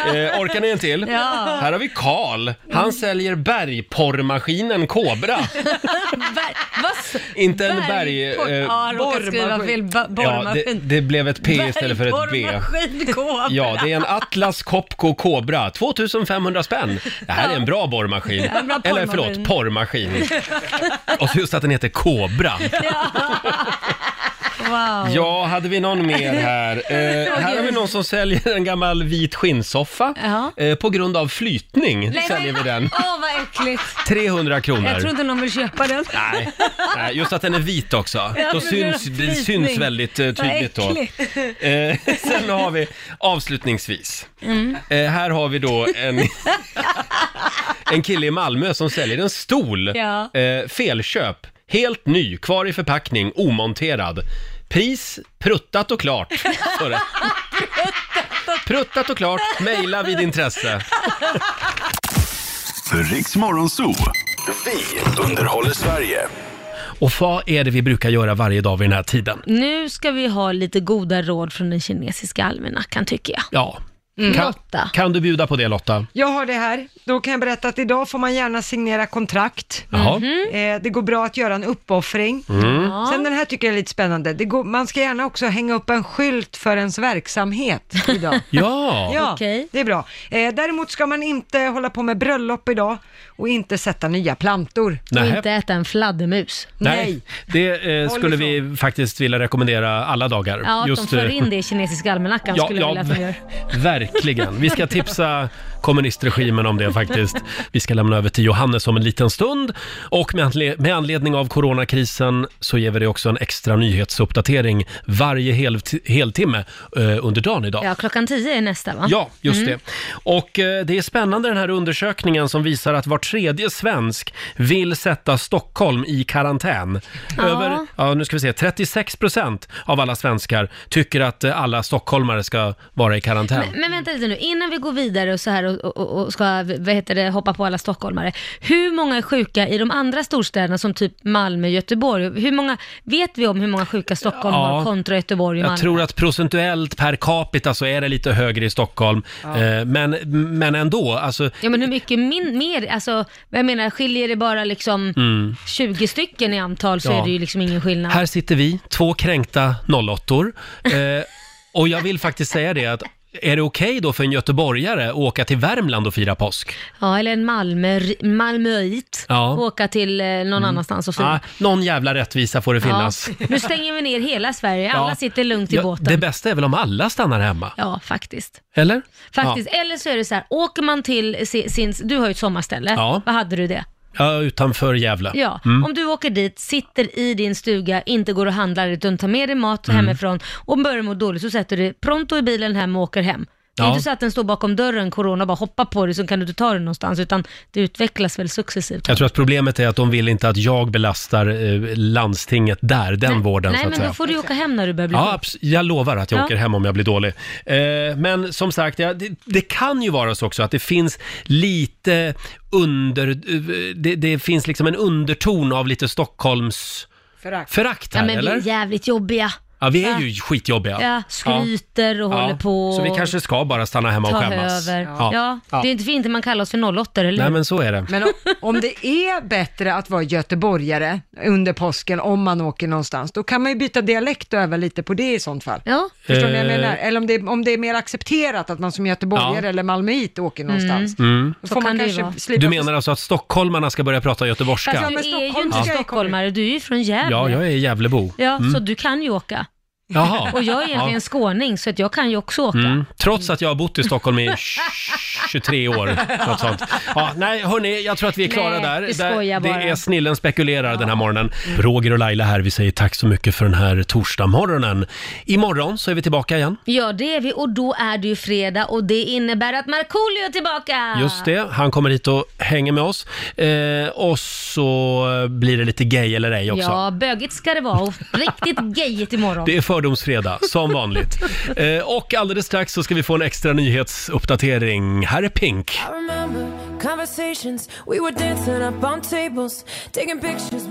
eh, orkar ni en till? Ja. Mm. Här har vi Karl. Han säljer bergporrmaskinen Kobra. Berg, vad, s- Inte en berg, borr- eh, ja, jag råkade skriva fel. Ba- Ja, det, borrmaskin. det blev ett P istället för ett B. Bergborrmaskin, kobra. Ja, det är en Atlas Copco Cobra. 2500 spänn. Det här är en bra borrmaskin. Ja, en bra Eller porrmaskin. förlåt, porrmaskin. Och så just att den heter Cobra. Wow. Ja, hade vi någon mer här? Eh, här har vi någon som säljer en gammal vit skinnsoffa. Ja. Eh, på grund av flytning Nej, säljer vi men- den. Åh, vad äckligt. 300 kronor. Jag tror inte någon vill köpa den. Nej, nej, just att den är vit också. Ja, Då men det är syns, det flytning. syns väldigt eh, Vad tydligt då. äckligt. Eh, sen har vi avslutningsvis. Mm. Eh, här har vi då en, en kille i Malmö som säljer en stol. Ja. Eh, felköp, helt ny, kvar i förpackning, omonterad. Pris, pruttat och klart. står det. Pruttat och klart, mejla vid intresse. Riks Morgonzoo. Vi underhåller Sverige. Och vad är det vi brukar göra varje dag vid den här tiden? Nu ska vi ha lite goda råd från den kinesiska almanackan tycker jag. Ja. Mm. Kan, Lotta. kan du bjuda på det Lotta? Jag har det här. Då kan jag berätta att idag får man gärna signera kontrakt. Jaha. Mhm. Mm. Eh, det går bra att göra en uppoffring. Mm. Ja. Sen den här tycker jag är lite spännande. Det går, man ska gärna också hänga upp en skylt för ens verksamhet idag. Ja. ja det är bra. Eh, däremot ska man inte hålla på med bröllop idag och inte sätta nya plantor. Nähä. Och inte äta en fladdermus. Det eh, Håll skulle vi faktiskt vilja rekommendera alla dagar. Ja, att de för eh, in det i kinesiska almanackan Ja, skulle ja, jag vilja att de gör. Verkligen. Vi ska tipsa kommunistregimen om det faktiskt. Vi ska lämna över till Johannes om en liten stund. Och med anle- med anledning av coronakrisen så ger vi dig också en extra nyhetsuppdatering varje helti- heltimme eh, under dagen idag. Ja, klockan tio är nästa va? Ja, just Mm. det. Och eh, det är spännande den här undersökningen som visar att var tredje svensk vill sätta Stockholm i karantän. Ja. Över, ja, nu ska vi se, 36 procent av alla svenskar tycker att eh, alla stockholmare ska vara i karantän. Men, men vänta lite nu, innan vi går vidare och så här och, och, och ska, vad heter det, hoppa på alla stockholmare. Hur många är sjuka i de andra storstäderna som typ Malmö, Göteborg? Hur många, vet vi om hur många sjuka Stockholm Ja. har kontra Göteborg och Malmö? Jag tror att procentuellt per capita så är det lite högre i Stockholm. Ja. Eh, Men, men ändå, alltså... Ja men hur mycket min, mer, alltså jag menar skiljer det bara liksom Mm. 20 stycken i antal så Ja. är det ju liksom ingen skillnad. Här sitter vi, två kränkta nollåttor. Eh, och jag vill faktiskt säga det att är det okej då för en göteborgare att åka till Värmland och fira påsk? Ja eller en Malmö, Malmöit, Ja. åka till eh, någon annanstans och fira. Ah, någon jävla rättvisa får det Ah, finnas. Ja. Nu stänger vi ner hela Sverige, alla Ja. sitter lugnt i Ja, båten. det bästa är väl om alla stannar hemma? Ja, faktiskt. Eller? Faktiskt. Eller så är det så här, åker man till si- sin, du har ju ett sommarställe, Ja. vad hade du det? Ja. ja, utanför Gävle. Ja, Mm. om du åker dit, sitter i din stuga, inte går och handlar utan tar med dig mat Mm. hemifrån och börjar må dåligt så sätter du dig pronto i bilen hem och åker hem. Det är Ja. inte så att den står bakom dörren, corona, och bara hoppar på dig så kan du inte ta dig någonstans utan det utvecklas väl successivt. Jag tror att problemet är att de vill inte att jag belastar eh, landstinget där, den vården Nej så att men säga. då får du åka hem när du börjar bli Ja, sjuk. abs- jag lovar att jag Ja. åker hem om jag blir dålig. Eh, men som sagt, ja, det, det kan ju vara så också att det finns lite under... eh, Det, det finns liksom en underton av lite Stockholms... Förakt. Förakt här, ja, men eller? vi är jävligt jobbiga. Ja, vi är ju skitjobbiga. Ja, skryter och håller på Så vi och- kanske ska bara stanna hemma och Ta skämmas. över. Ja. det är inte för inte man kallar oss för 08 eller Nej, hur? men så är det. Men om, om det är bättre att vara göteborgare under påsken om man åker någonstans, då kan man ju byta dialekt och öva lite på det i sånt fall. Ja. Förstår ni vad jag Eh. menar? Eller om det, är, om det är mer accepterat att man som göteborgare Ja. eller malmöit åker någonstans. Mm. Då får man kanske slippa... Du menar alltså att stockholmarna ska börja prata göteborgska? Fast du är ju inte Ja. stockholmare, du är ju från Gävle. Ja, jag är Gävlebo. Ja, Mm. så du kan ju åka. Jaha. Och jag är egentligen Ja. skåning, så att jag kan ju också åka. Mm. Trots att jag har bott i Stockholm i 23 år. Något sånt. Ja, nej, hörni, jag tror att vi är klara Nej, där. vi där. skojar Det bara. Mm. är Snillen spekulerar den här morgonen. Roger och Laila här, vi säger tack så mycket för den här torsdagsmorgonen. Imorgon så är vi tillbaka igen. Ja, det är vi och då är det ju fredag och det innebär att Markoolio är tillbaka! Just det, han kommer hit och hänger med oss. Eh, och så blir det lite gay eller ej också. Ja, bögigt ska det vara och riktigt gayigt imorgon. Det är fördomsfredag, som vanligt. eh, och alldeles strax så ska vi få en extra nyhetsuppdatering. Här är Pink. I remember conversations, we were dancing up on tables, taking pictures.